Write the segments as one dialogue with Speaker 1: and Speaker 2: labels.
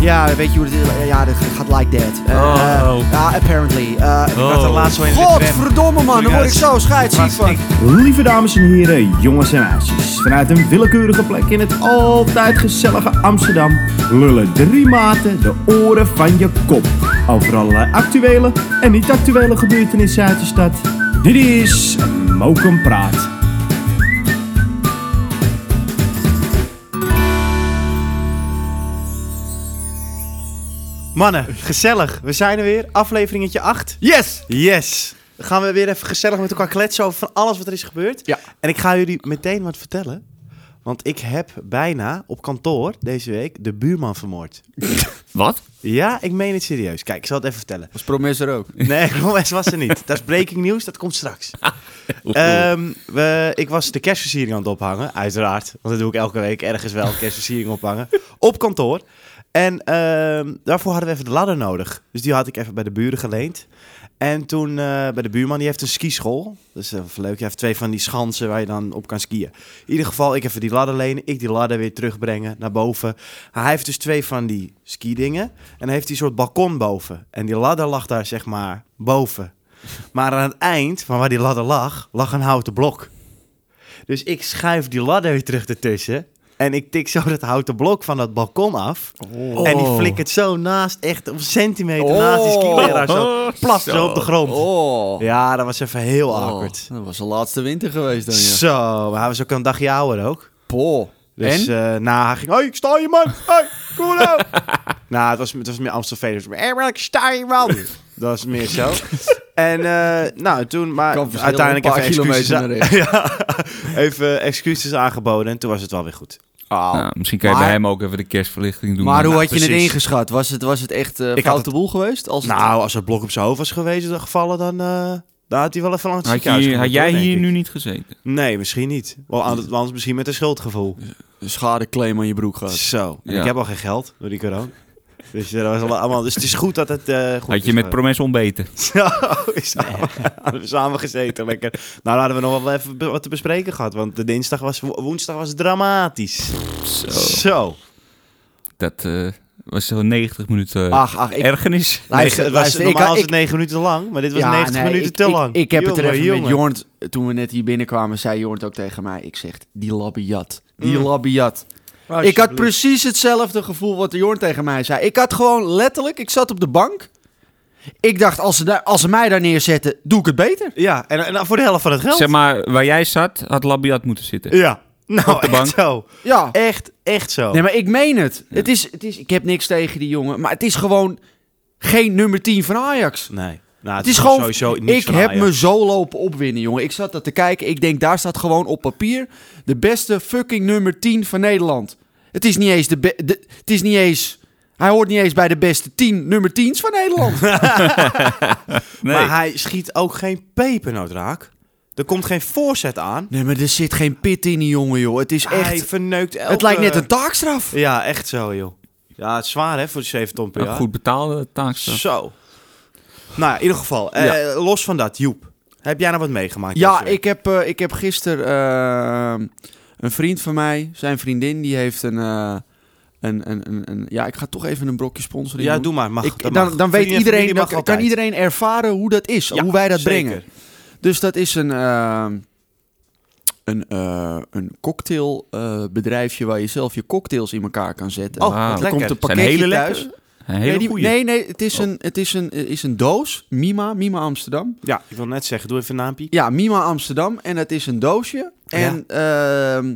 Speaker 1: Ja, weet je hoe dit Ja, dit gaat like that. Eh,
Speaker 2: Oh.
Speaker 1: eh, ja, apparently. Eh,
Speaker 2: Oh.
Speaker 3: Ik had er laatst zo in de tram.
Speaker 1: Godverdomme man, dan word ik zo scheidsziek
Speaker 3: Was
Speaker 1: van.
Speaker 3: ik-
Speaker 4: Lieve dames en heren, jongens en meisjes. Vanuit een willekeurige plek in het altijd gezellige Amsterdam lullen drie maten de oren van je kop. Over allerlei actuele en niet-actuele gebeurtenissen uit de stad. Dit is Mokum Praat.
Speaker 3: Mannen, gezellig. We zijn er weer. Afleveringetje 8.
Speaker 1: Yes!
Speaker 3: Yes. Dan gaan we weer even gezellig met elkaar kletsen over van alles wat er is gebeurd.
Speaker 1: Ja.
Speaker 3: En ik ga jullie meteen wat vertellen. Want ik heb bijna op kantoor deze week de buurman vermoord.
Speaker 2: Wat?
Speaker 3: Ja, ik meen het serieus. Kijk, ik zal het even vertellen.
Speaker 1: Als promis er ook.
Speaker 3: Nee, Gomez was er niet. Dat is breaking news, dat komt straks. Ehm, we, ik was de kerstversiering aan het ophangen, uiteraard. Want dat doe ik elke week ergens wel, kerstversiering ophangen. Op kantoor. En ehm, daarvoor hadden we even de ladder nodig. Dus die had ik even bij de buren geleend. En toen eh, bij de buurman, die heeft een skischool. Dat is even leuk. Je heeft twee van die schansen waar je dan op kan skiën. In ieder geval, ik even die ladder lenen. Ik die ladder weer terugbrengen naar boven. Hij heeft dus twee van die skidingen. En heeft die soort balkon boven. En die ladder lag daar zeg maar boven. Maar aan het eind van waar die ladder lag, lag een houten blok. Dus ik schuif die ladder weer terug ertussen. En ik tik zo dat houten blok van dat balkon af. En die flikkert zo naast, echt een centimeter naast die skileraar. Zo plaf zo. op de grond.
Speaker 1: Oh.
Speaker 3: Ja, dat was even heel
Speaker 1: Oh,
Speaker 3: awkward.
Speaker 1: Dat was de laatste winter geweest dan, ja.
Speaker 3: Zo, maar hij was ook een dagje ouder ook.
Speaker 1: Po.
Speaker 3: Dus
Speaker 1: en?
Speaker 3: eh nou, hij ging, hoi, ik sta je man. Hoi, kom maar nou. nou, het was, het was meer Amstelveen. Dus, "Hé, maar ik sta je man. dat was meer zo. en eh, nou, toen, maar
Speaker 1: Kan verschillen,
Speaker 3: uiteindelijk
Speaker 1: een paar
Speaker 3: even excuses,
Speaker 1: kilometer
Speaker 3: aan- ja, even excuses aangeboden. En toen was het wel weer goed.
Speaker 2: Nou, misschien kan je
Speaker 1: Maar-
Speaker 2: bij hem ook even de kerstverlichting doen.
Speaker 1: Oh. Maar hoe had je het
Speaker 3: precies.
Speaker 1: ingeschat? Was het, was het echt eh
Speaker 3: had
Speaker 1: foute
Speaker 3: het-
Speaker 1: boel geweest? Als het-
Speaker 3: Nou, als het blok op zijn hoofd was geweest, dat gevallen, dan, eh, dan had hij wel even langs het
Speaker 2: Had, je,
Speaker 3: ziekenhuis
Speaker 2: had
Speaker 3: gemoeten,
Speaker 2: jij
Speaker 3: hoor, denk
Speaker 2: hier
Speaker 3: ik.
Speaker 2: nu niet gezeten?
Speaker 3: Nee, misschien niet. Wel, anders, anders misschien met een schuldgevoel.
Speaker 1: een schadeclaim aan je broek gehad.
Speaker 3: Zo. En
Speaker 2: Ja.
Speaker 3: ik heb al geen geld door die corona. Dus, eh, dat was allemaal- allemaal, dus het is goed dat het eh, goed
Speaker 2: Had
Speaker 3: is
Speaker 2: je met
Speaker 3: gegaan.
Speaker 2: promes ontbeten?
Speaker 3: Zo, we samen, hadden we samen gezeten. Lekker. Nou, dan hadden we nog wel even be- wat te bespreken gehad. Want de dinsdag was, wo- woensdag was dramatisch.
Speaker 2: Oh. Zo.
Speaker 3: Zo.
Speaker 2: Dat eh, was zo'n 90 minuten
Speaker 1: Ach, ach, Ah, ik,
Speaker 2: ergernis.
Speaker 1: Luister,
Speaker 3: het was,
Speaker 1: luister, ik-
Speaker 3: normaal is
Speaker 1: ik-
Speaker 3: het 9 minuten lang, maar dit was
Speaker 1: Ja,
Speaker 3: 90
Speaker 1: nee,
Speaker 3: minuten
Speaker 1: ik-
Speaker 3: te
Speaker 1: ik-
Speaker 3: lang.
Speaker 1: Ik, heb het er
Speaker 3: Jongen,
Speaker 1: even met
Speaker 3: jongen.
Speaker 1: Jornt, toen we net hier binnenkwamen, zei Jornt ook tegen mij, ik zeg, die labiat, die
Speaker 3: Mm.
Speaker 1: labiat.
Speaker 3: Oh,
Speaker 1: Ik had precies hetzelfde gevoel wat Jorn tegen mij zei. Ik had gewoon letterlijk, ik zat op de bank. Ik dacht, als ze, daar- als ze mij daar neerzetten, doe ik het beter.
Speaker 3: Ja, en, en voor de helft van het geld.
Speaker 2: Zeg maar, waar jij zat, had Labiat moeten zitten.
Speaker 3: ja. Nou,
Speaker 2: Op de
Speaker 3: echt
Speaker 2: bank.
Speaker 3: zo.
Speaker 1: Ja.
Speaker 3: Echt, echt zo.
Speaker 1: Nee, maar ik meen het. Het, is, het is, ik heb niks tegen die jongen, maar het is gewoon geen nummer 10 van Ajax.
Speaker 3: Nee. Nou,
Speaker 1: Het is gewoon,
Speaker 3: sowieso niks
Speaker 1: ik
Speaker 3: van
Speaker 1: heb
Speaker 3: Ajax.
Speaker 1: me zo lopen opwinden, jongen. Ik zat dat te kijken. Ik denk, daar staat gewoon op papier de beste fucking nummer 10 van Nederland. Het is niet eens de, be- de- Het is niet eens... Hij hoort niet eens bij de beste 10 nummer 10's van Nederland.
Speaker 2: Nee.
Speaker 3: Maar hij schiet ook geen pepernoot raak. Er komt geen voorzet aan.
Speaker 1: nee, maar er zit geen pit in die jongen, joh. Het is
Speaker 3: Hij
Speaker 1: echt...
Speaker 3: verneukt elke...
Speaker 1: Het lijkt net een taakstraf.
Speaker 3: Ja, echt zo, joh. Ja, het is zwaar, hè, voor de 7 ton per
Speaker 2: Een
Speaker 3: jaar.
Speaker 2: goed betaalde taakstraf.
Speaker 3: Zo. Nou, ja, in ieder geval, eh,
Speaker 2: Ja.
Speaker 3: los van dat, Joep. Heb jij nou wat meegemaakt?
Speaker 1: Ja,
Speaker 3: deze week?
Speaker 1: ik heb, eh, ik heb gisteren ehm, een vriend van mij, zijn vriendin, die heeft een... eh, een, een, een, een- ja, ik ga toch even een brokje sponsoring
Speaker 3: Ja,
Speaker 1: doen.
Speaker 3: doe maar. Mag,
Speaker 1: Ik-
Speaker 3: dat mag.
Speaker 1: dan dan weet
Speaker 3: Vrienden en
Speaker 1: iedereen,
Speaker 3: familie
Speaker 1: dan
Speaker 3: mag
Speaker 1: kan
Speaker 3: altijd.
Speaker 1: iedereen ervaren hoe dat is,
Speaker 3: Ja,
Speaker 1: hoe wij dat
Speaker 3: zeker.
Speaker 1: brengen. Dus dat is een, ehm, een, eh, een cocktailbedrijfje eh, waar je zelf je cocktails in elkaar kan zetten.
Speaker 3: Oh,
Speaker 2: Wauw.
Speaker 3: wat
Speaker 1: er
Speaker 3: lekker.
Speaker 1: komt een
Speaker 2: Zijn
Speaker 1: pakketje
Speaker 2: hele
Speaker 1: thuis.
Speaker 2: lekkere? Een
Speaker 1: nee,
Speaker 2: hele
Speaker 1: die-
Speaker 2: goeie.
Speaker 1: nee, nee, het is een, het is een, is een doos, Mima, Mima Amsterdam.
Speaker 3: Ja, ik wil net zeggen, doe even een naampie.
Speaker 1: Ja, Mima Amsterdam. En dat is een doosje. En ehm,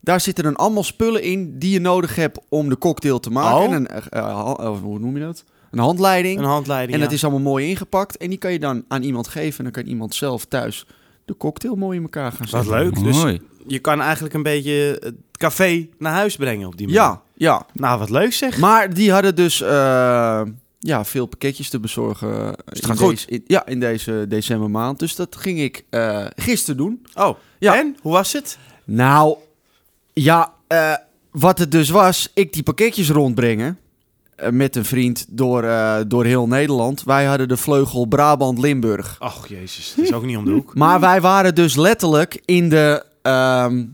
Speaker 1: daar zitten dan allemaal spullen in die je nodig hebt om de cocktail te maken.
Speaker 3: Oh.
Speaker 1: En een, eh, eh, ha- of hoe noem je dat? Een handleiding.
Speaker 3: Een handleiding,
Speaker 1: en dat
Speaker 3: ja.
Speaker 1: is allemaal mooi ingepakt. En die kan je dan aan iemand geven. En dan kan iemand zelf thuis de cocktail mooi in elkaar gaan
Speaker 3: Wat
Speaker 1: zetten.
Speaker 3: leuk. Dus
Speaker 2: Mooi.
Speaker 3: je kan eigenlijk een beetje het café naar huis brengen op die manier.
Speaker 1: Ja, ja.
Speaker 3: Nou, wat leuk zeg.
Speaker 1: Maar die hadden dus eh, ja, veel pakketjes te bezorgen. Het
Speaker 3: gaat goed.
Speaker 1: ja, in deze decembermaand. Dus dat ging ik eh gisteren doen.
Speaker 3: Oh,
Speaker 1: Ja.
Speaker 3: en? Hoe was het?
Speaker 1: Nou, ja, eh, wat het dus was, ik die pakketjes rondbrengen eh, met een vriend door, eh, door heel Nederland. Wij hadden de vleugel Brabant-Limburg.
Speaker 3: Och, jezus. Dat is ook niet om de hoek.
Speaker 1: Maar wij waren dus letterlijk in de, ehm,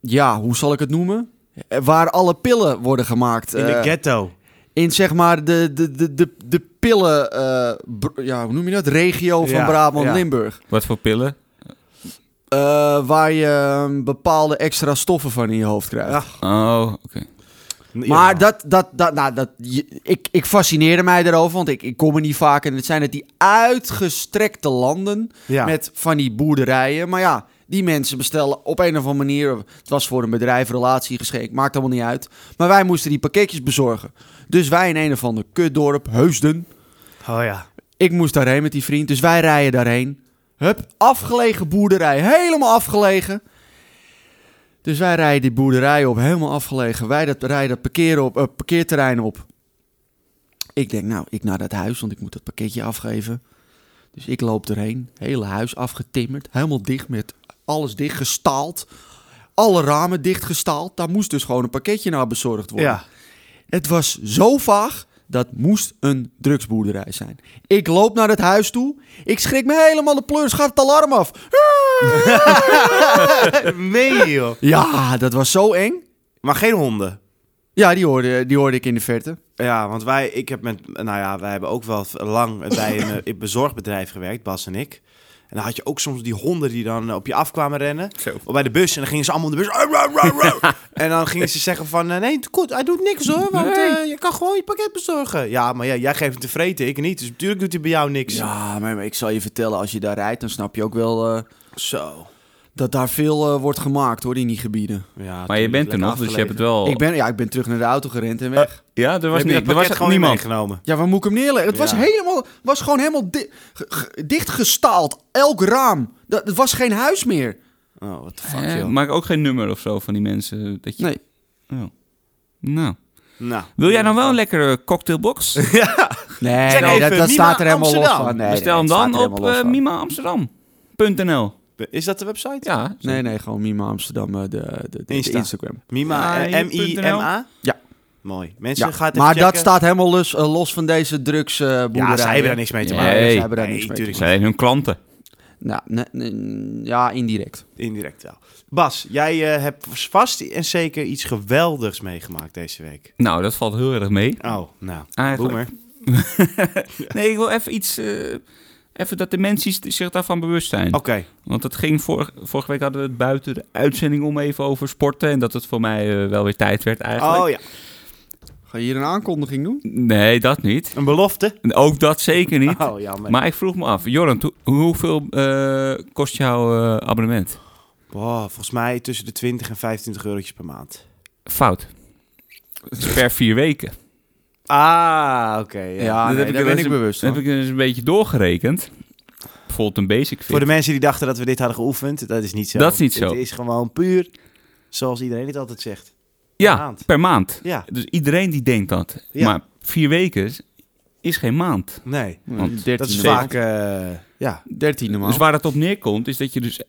Speaker 1: ja, hoe zal ik het noemen? Eh, Waar alle pillen worden gemaakt.
Speaker 3: In de
Speaker 1: eh,
Speaker 3: ghetto.
Speaker 1: in zeg maar de, de, de, de, de pillen, eh, br- ja, hoe noem je dat? Regio van
Speaker 3: Ja, ja.
Speaker 1: Brabant-Limburg.
Speaker 2: Wat voor pillen?
Speaker 1: Eh, waar je eh, bepaalde extra stoffen van in je hoofd krijgt.
Speaker 3: Ja.
Speaker 2: Oh, oké.
Speaker 1: Maar dat, dat, dat, nou, dat, je- ik, ik fascineerde mij daarover, want ik, ik kom er niet vaak. En het zijn het die uitgestrekte landen
Speaker 3: Ja.
Speaker 1: met van die boerderijen. Maar ja, die mensen bestellen op een of andere manier. Het was voor een bedrijf, relatie geschikt, maakt allemaal niet uit. Maar wij moesten die pakketjes bezorgen. Dus wij in een of ander kutdorp, Heusden.
Speaker 3: Oh ja.
Speaker 1: Ik moest daarheen met die vriend, dus wij rijden daarheen. Hup, afgelegen boerderij, helemaal afgelegen. Dus wij rijden die boerderij op, helemaal afgelegen. Wij dat, rijden dat parkeren op, eh, parkeerterrein op. Ik denk, nou, ik naar dat huis, want ik moet dat pakketje afgeven. Dus ik loop erheen, hele huis afgetimmerd, helemaal dicht met alles dicht, gestaald. Alle ramen dicht gestaald. Daar moest dus gewoon een pakketje naar bezorgd worden.
Speaker 3: Ja.
Speaker 1: Het was zo vaag, dat moest een drugsboerderij zijn. Ik loop naar het huis toe. Ik schrik me helemaal de pleurs, gaat het alarm af. Eh,
Speaker 3: Nee joh.
Speaker 1: Ja, dat was zo eng.
Speaker 3: Maar geen honden.
Speaker 1: Ja, die hoorde, die hoorde ik in de verte.
Speaker 3: Ja, want wij, ik heb met, nou ja, wij hebben ook wel lang bij een eh, bezorgbedrijf gewerkt, Bas en ik. En dan had je ook soms die honden die dan eh, op je afkwamen rennen.
Speaker 2: Zo.
Speaker 3: Of bij de bus. En dan gingen ze allemaal op de bus. "Au, au, au, au." En dan gingen ze zeggen van... eh, Nee, het goed, hij doet niks hoor. Want eh, je kan gewoon je pakket bezorgen. Ja, maar ja, jij geeft hem te vreten. Ik niet. Dus natuurlijk doet hij bij jou niks.
Speaker 1: Ja, maar maar ik zal je vertellen, als je daar rijdt, dan snap je ook wel eh,
Speaker 3: Zo.
Speaker 1: dat daar veel eh, wordt gemaakt hoor, in die gebieden.
Speaker 3: Ja,
Speaker 2: Maar je
Speaker 3: tuurlijk,
Speaker 2: bent
Speaker 3: lekker
Speaker 2: er nog, dus je hebt
Speaker 3: afgelegen.
Speaker 2: het wel...
Speaker 1: Ik, ben, ja, ik ben terug naar de auto gerend en weg.
Speaker 2: Ja, er
Speaker 3: Heb
Speaker 2: was,
Speaker 3: je
Speaker 2: niet,
Speaker 3: dat
Speaker 2: er was
Speaker 3: pakket
Speaker 2: echt
Speaker 3: gewoon
Speaker 2: niemand.
Speaker 3: meegenomen?
Speaker 1: Ja, waar moet ik hem neerleggen? Het was
Speaker 3: Ja.
Speaker 1: helemaal, was gewoon helemaal di- ge- ge- dichtgestaald. Elk raam. Dat, het was geen huis meer.
Speaker 3: Oh, what the fuck,
Speaker 2: Eh,
Speaker 3: joh.
Speaker 2: maak ook geen nummer of zo van die mensen. Dat je...
Speaker 1: Nee.
Speaker 2: Oh. Nou.
Speaker 3: Nou.
Speaker 2: Wil jij nou wel een lekkere cocktailbox?
Speaker 1: Nee,
Speaker 3: Check
Speaker 1: nee dat,
Speaker 3: even
Speaker 1: dat
Speaker 3: Mima
Speaker 1: staat er helemaal
Speaker 3: Amsterdam.
Speaker 1: los van. Nee, nee,
Speaker 2: Bestel
Speaker 1: het staat
Speaker 2: hem
Speaker 1: er
Speaker 2: dan op
Speaker 1: helemaal los
Speaker 2: eh,
Speaker 1: van.
Speaker 2: mimaamsterdam.nl.
Speaker 3: Is dat de website?
Speaker 2: Ja.
Speaker 1: Nee, nee, gewoon Mima Amsterdam, eh, de, de, de- de
Speaker 3: Insta.
Speaker 1: Instagram.
Speaker 3: Mima, eh,
Speaker 2: Ja,
Speaker 3: M-I-M-A?
Speaker 1: Ja.
Speaker 3: Mooi. Mensen,
Speaker 1: Ja,
Speaker 3: Dus gaat het even
Speaker 1: maar dat
Speaker 3: checken.
Speaker 1: staat helemaal los, eh, los van deze drugsboerderij.
Speaker 3: Ja, zij hebben daar niks mee te
Speaker 2: Nee.
Speaker 3: maken.
Speaker 1: zij hebben daar
Speaker 3: Nee,
Speaker 1: niks mee.
Speaker 3: tuurlijk.
Speaker 2: Zijn hun klanten.
Speaker 1: Nou, ne- ne- ja, indirect.
Speaker 3: Indirect wel. Bas, jij eh, hebt vast en zeker iets geweldigs meegemaakt deze week.
Speaker 2: Nou, dat valt heel erg mee.
Speaker 3: Oh, nou.
Speaker 2: Eigenlijk.
Speaker 3: Boemer.
Speaker 2: Nee, ik wil even iets... eh, even dat de mensen zich daarvan bewust zijn.
Speaker 3: Oké.
Speaker 1: Oh.
Speaker 2: Want het ging vor- vorige week hadden we het buiten de uitzending om even over sporten. En dat het voor mij eh, wel weer tijd werd eigenlijk.
Speaker 3: Oh ja.
Speaker 1: Ga je hier een aankondiging doen?
Speaker 2: Nee, dat niet.
Speaker 3: Een belofte?
Speaker 2: En Ook dat zeker niet.
Speaker 3: Oh, jammer.
Speaker 2: Maar ik vroeg me af, Jorant, hoe- hoeveel eh, kost jouw eh, abonnement?
Speaker 3: Oh, volgens mij tussen de 20 en 25 eurotjes per maand.
Speaker 2: Fout. Dat is Per vier weken.
Speaker 3: Ah, oké. ja.
Speaker 1: Ja, nee,
Speaker 2: heb ik
Speaker 1: daar
Speaker 2: wel
Speaker 1: ben
Speaker 2: eens
Speaker 1: ik
Speaker 2: een-
Speaker 1: bewust
Speaker 2: Dat
Speaker 1: van.
Speaker 2: Dus heb ik eens een beetje doorgerekend. Bijvoorbeeld een basic fit.
Speaker 3: Voor de mensen die dachten dat we dit hadden geoefend, dat is niet zo.
Speaker 2: Dat is niet zo.
Speaker 3: Het is gewoon puur zoals iedereen het altijd zegt.
Speaker 2: ja,
Speaker 3: maand.
Speaker 2: per maand.
Speaker 3: Ja,
Speaker 2: Dus iedereen die denkt dat.
Speaker 3: Ja.
Speaker 2: Maar vier weken is- is geen maand.
Speaker 3: nee.
Speaker 2: Want
Speaker 3: Dat is
Speaker 1: maand.
Speaker 3: vaak, eh, ja.
Speaker 1: Dertiende maand.
Speaker 2: Dus waar het op neerkomt, is dat je dus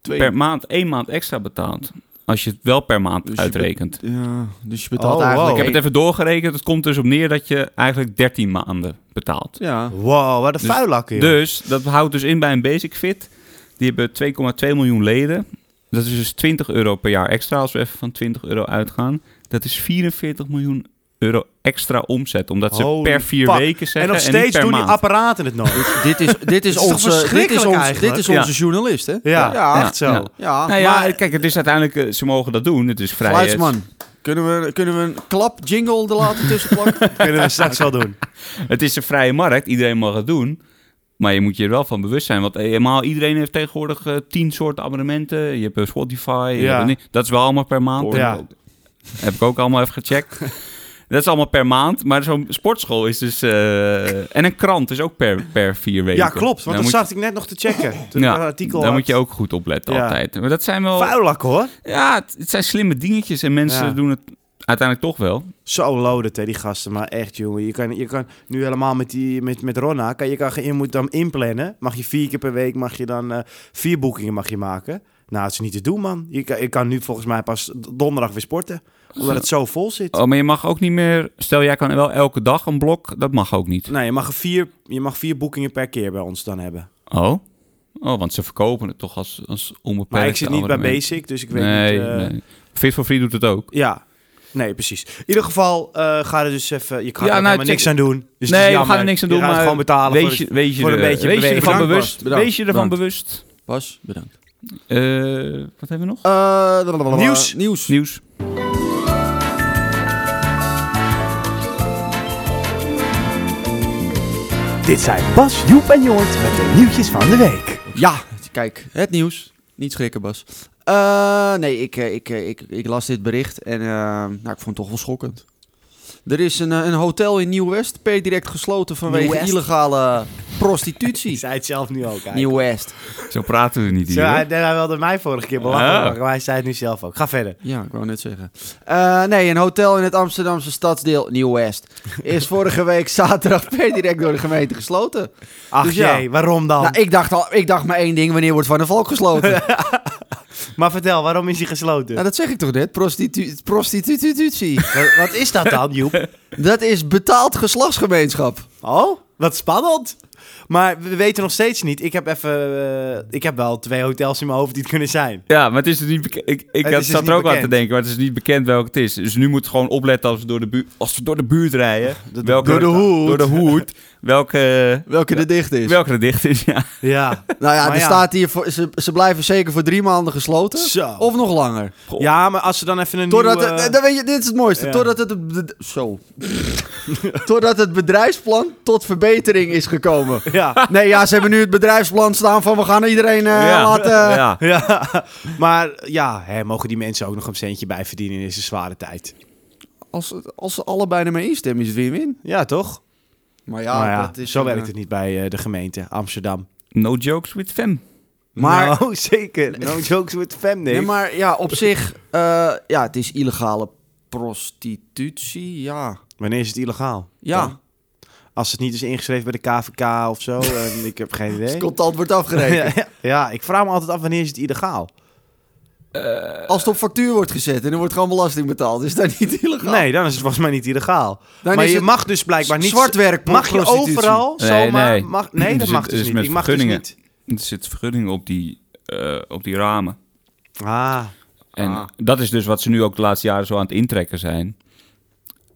Speaker 1: Twee-
Speaker 2: per maand één maand extra betaalt. Als je het wel per maand
Speaker 1: Dus je be-
Speaker 2: uitrekent.
Speaker 1: ja, dus je betaalt
Speaker 3: Oh,
Speaker 1: eigenlijk...
Speaker 3: wow.
Speaker 2: Ik heb het even doorgerekend. Het komt dus op neer dat je eigenlijk 13 maanden betaalt.
Speaker 1: Ja.
Speaker 3: Wow, wat een
Speaker 2: Dus-
Speaker 3: vuilakken, joh.
Speaker 2: Dus dat houdt dus in bij een Basic Fit. Die hebben 2,2 miljoen leden. Dat is dus 20 euro per jaar extra. Als we even van 20 euro uitgaan. Dat is 44 miljoen euro extra omzet. Omdat ze
Speaker 3: Holy
Speaker 2: per vier
Speaker 3: fuck.
Speaker 2: weken zeggen.
Speaker 3: en nog
Speaker 2: niet
Speaker 3: steeds
Speaker 2: per
Speaker 3: doen die
Speaker 2: maand.
Speaker 3: apparaten het nog.
Speaker 1: Dit is, dit is,
Speaker 3: toch
Speaker 1: onze, dit is,
Speaker 3: verschrikkelijk
Speaker 1: ons,
Speaker 3: eigenlijk?
Speaker 1: dit is
Speaker 2: Ja.
Speaker 1: onze journalist, hè?
Speaker 3: Ja,
Speaker 1: Ja.
Speaker 3: echt zo.
Speaker 2: Ja.
Speaker 1: Ja,
Speaker 2: Nou ja,
Speaker 1: maar...
Speaker 2: kijk, het is uiteindelijk. eh, Ze mogen dat doen. Het is vrij.
Speaker 1: Geluidsman, kunnen we, kunnen we een klap jingle er laten tussen plakken?
Speaker 3: Kunnen we straks wel doen.
Speaker 2: Het is een vrije markt, iedereen mag het doen. Maar je moet je er wel van bewust zijn. Want helemaal iedereen heeft tegenwoordig eh, tien soorten abonnementen. Je hebt eh, Spotify. je
Speaker 3: Ja.
Speaker 2: hebt een ding. dat is wel allemaal per maand.
Speaker 3: Ja.
Speaker 2: Heb ik ook- Heb ik ook allemaal even gecheckt. dat is allemaal per maand. Maar zo'n sportschool is dus... eh, en een krant is ook per, per vier weken.
Speaker 3: Ja, klopt. Want
Speaker 2: Dan
Speaker 3: dat
Speaker 2: moet-
Speaker 3: zat ik net nog te checken. Toen
Speaker 2: ja,
Speaker 3: ik een artikel
Speaker 2: daar
Speaker 3: had.
Speaker 2: moet je ook goed op letten
Speaker 3: Ja.
Speaker 2: altijd. Maar dat zijn wel...
Speaker 3: Vuilak hoor.
Speaker 2: Ja, het, het zijn slimme dingetjes. En mensen
Speaker 3: Ja.
Speaker 2: doen het uiteindelijk toch wel.
Speaker 3: Zo loaded hè, die gasten. Maar echt jongen, je kan, je kan nu helemaal met, die, met, met Ronna, kan, je, kan, je moet dan inplannen. Mag je vier keer per week, mag je dan eh, vier boekingen mag je maken. Nou, dat is niet te doen man. Je kan, je kan nu volgens mij pas donderdag weer sporten. Omdat het zo vol zit.
Speaker 2: Oh, maar je mag ook niet meer... Stel, jij kan wel elke dag een blok. Dat mag ook niet.
Speaker 3: Nee, je mag, vier, je mag vier boekingen per keer bij ons dan hebben.
Speaker 2: Oh? Oh, want ze verkopen het toch als, als onbeperkt
Speaker 3: Maar ik zit niet bij
Speaker 2: abonnement.
Speaker 3: Basic, dus ik weet
Speaker 2: nee,
Speaker 3: niet... eh,
Speaker 2: nee. Fit for Free doet het ook.
Speaker 3: Ja. Nee, precies. In ieder geval, eh, ga er dus even... Je kan er
Speaker 2: Ja, nou,
Speaker 3: helemaal
Speaker 2: check-
Speaker 3: niks aan doen. Dus het is
Speaker 2: nee, we
Speaker 3: jammer.
Speaker 2: gaan er niks aan
Speaker 3: Je
Speaker 2: doen,
Speaker 3: gaat
Speaker 2: maar
Speaker 3: gewoon betalen
Speaker 2: wees,
Speaker 3: voor
Speaker 2: je,
Speaker 3: het-
Speaker 2: wees, je
Speaker 3: voor een
Speaker 2: er-
Speaker 3: beetje
Speaker 2: wees je
Speaker 3: beweging.
Speaker 2: ervan
Speaker 1: Bedankt,
Speaker 2: bewust.
Speaker 1: Bas. Bedankt.
Speaker 2: Wees je ervan
Speaker 1: Bedankt.
Speaker 2: bewust.
Speaker 1: Bas, bedankt.
Speaker 2: Eh, wat hebben we nog?
Speaker 3: Nieuws.
Speaker 1: Eh, Nieuws.
Speaker 2: Nieuws.
Speaker 3: Dit zijn Bas, Joep en Joort met de nieuwtjes van de week.
Speaker 1: Ja, kijk, het nieuws. Niet schrikken, Bas. Eh, nee, ik, eh, ik, eh, ik, ik las dit bericht en eh, nou, ik vond het toch wel schokkend. Er is een, eh, een hotel in Nieuw-West per direct gesloten vanwege
Speaker 3: Nieuw-West?
Speaker 1: illegale prostitutie.
Speaker 3: zei het zelf nu ook eigenlijk.
Speaker 1: Nieuw-West.
Speaker 2: Zo praten we niet
Speaker 3: Zo,
Speaker 2: hier.
Speaker 3: hij,
Speaker 2: hè?
Speaker 3: nee, hij wilde mij vorige keer
Speaker 2: Ah.
Speaker 3: belachelijk maken, maar hij zei het nu zelf ook. Ga verder.
Speaker 1: Ja, ik wou net zeggen. Eh, nee, een hotel in het Amsterdamse stadsdeel Nieuw-West is vorige week zaterdag per direct door de gemeente gesloten.
Speaker 3: Ach
Speaker 1: Dus ja.
Speaker 3: jee, waarom dan?
Speaker 1: Nou, ik dacht, al, ik dacht maar één ding, wanneer wordt Van de Valk gesloten?
Speaker 3: Maar vertel, waarom is hij gesloten?
Speaker 1: Nou, dat zeg ik toch net, prostitu- prostitutie.
Speaker 3: Wat- Wat is dat dan, Joep?
Speaker 1: Dat is betaald geslachtsgemeenschap.
Speaker 3: Oh, wat spannend. Maar we weten nog steeds niet. Ik heb even... eh, ik heb wel twee hotels in mijn hoofd die het kunnen zijn.
Speaker 2: Ja, maar het is dus niet bekend. Ik, ik
Speaker 3: Het
Speaker 2: had,
Speaker 3: is dus
Speaker 2: zat
Speaker 3: niet
Speaker 2: er ook aan te
Speaker 3: bekend.
Speaker 2: denken, maar het is niet bekend welke het is. Dus nu moet je gewoon opletten als we door de, buurt als we door de buurt rijden. welke,
Speaker 1: door de hoed.
Speaker 2: Door de hoed. Welke,
Speaker 1: Welke de dicht is.
Speaker 2: welke er dicht is, ja.
Speaker 3: Ja.
Speaker 1: nou ja,
Speaker 3: Maar
Speaker 1: er
Speaker 3: ja.
Speaker 1: staat hier, voor, ze, ze blijven zeker voor drie maanden gesloten.
Speaker 3: Zo.
Speaker 1: Of nog langer.
Speaker 3: ja, maar als ze dan even een
Speaker 1: Totdat,
Speaker 3: nieuwe...
Speaker 1: het- eh, dan weet je, dit is het mooiste.
Speaker 3: ja.
Speaker 1: Totdat, het, bed- zo. Totdat het bedrijfsplan tot verbetering is gekomen.
Speaker 3: Ja.
Speaker 1: Nee, ja, ze hebben nu het bedrijfsplan staan van we gaan iedereen eh,
Speaker 2: ja.
Speaker 1: laten...
Speaker 2: ja.
Speaker 3: Ja, maar ja, hè, mogen die mensen ook nog een centje bij verdienen in deze zware tijd?
Speaker 1: Als, als ze allebei ermee instemmen, is het win-win.
Speaker 3: Ja, toch?
Speaker 1: Maar
Speaker 3: Ja,
Speaker 1: ja,
Speaker 3: maar Nou ja
Speaker 1: dat is
Speaker 3: zo
Speaker 1: een,
Speaker 3: werkt
Speaker 1: eh,
Speaker 3: het niet bij eh, de gemeente Amsterdam.
Speaker 2: No jokes with fem.
Speaker 1: Maar-
Speaker 3: Nou, zeker. No jokes with fam, nee.
Speaker 1: Nee, maar ja, op zich, eh, ja, het is illegale prostitutie, ja.
Speaker 3: Wanneer is het illegaal? Dan?
Speaker 1: Ja,
Speaker 3: Als het niet is ingeschreven bij de KVK of zo, en ik heb geen
Speaker 1: het
Speaker 3: idee.
Speaker 1: contant wordt afgerekend.
Speaker 3: ja, ja. ja, ik vraag me altijd af wanneer is het illegaal?
Speaker 1: Als het op factuur wordt gezet en er wordt gewoon belasting betaald, is dat niet illegaal?
Speaker 3: Nee, dan is het volgens mij niet illegaal.
Speaker 1: Dan
Speaker 3: maar
Speaker 1: is
Speaker 3: je
Speaker 1: het
Speaker 3: mag dus blijkbaar niet...
Speaker 1: Zwart werk,
Speaker 3: mag je
Speaker 1: prostitutie.
Speaker 3: overal
Speaker 2: Nee,
Speaker 3: zomaar...
Speaker 2: nee.
Speaker 3: Mag, nee,
Speaker 2: Er
Speaker 3: dat
Speaker 2: zit-
Speaker 3: mag dus
Speaker 2: is
Speaker 3: niet.
Speaker 2: met
Speaker 3: ik mag dus
Speaker 2: vergunningen.
Speaker 3: niet.
Speaker 2: Er zit vergunning op die, eh, op die ramen.
Speaker 3: Ah,
Speaker 2: En
Speaker 1: Ah.
Speaker 2: dat is dus wat ze nu ook de laatste jaren zo aan het intrekken zijn.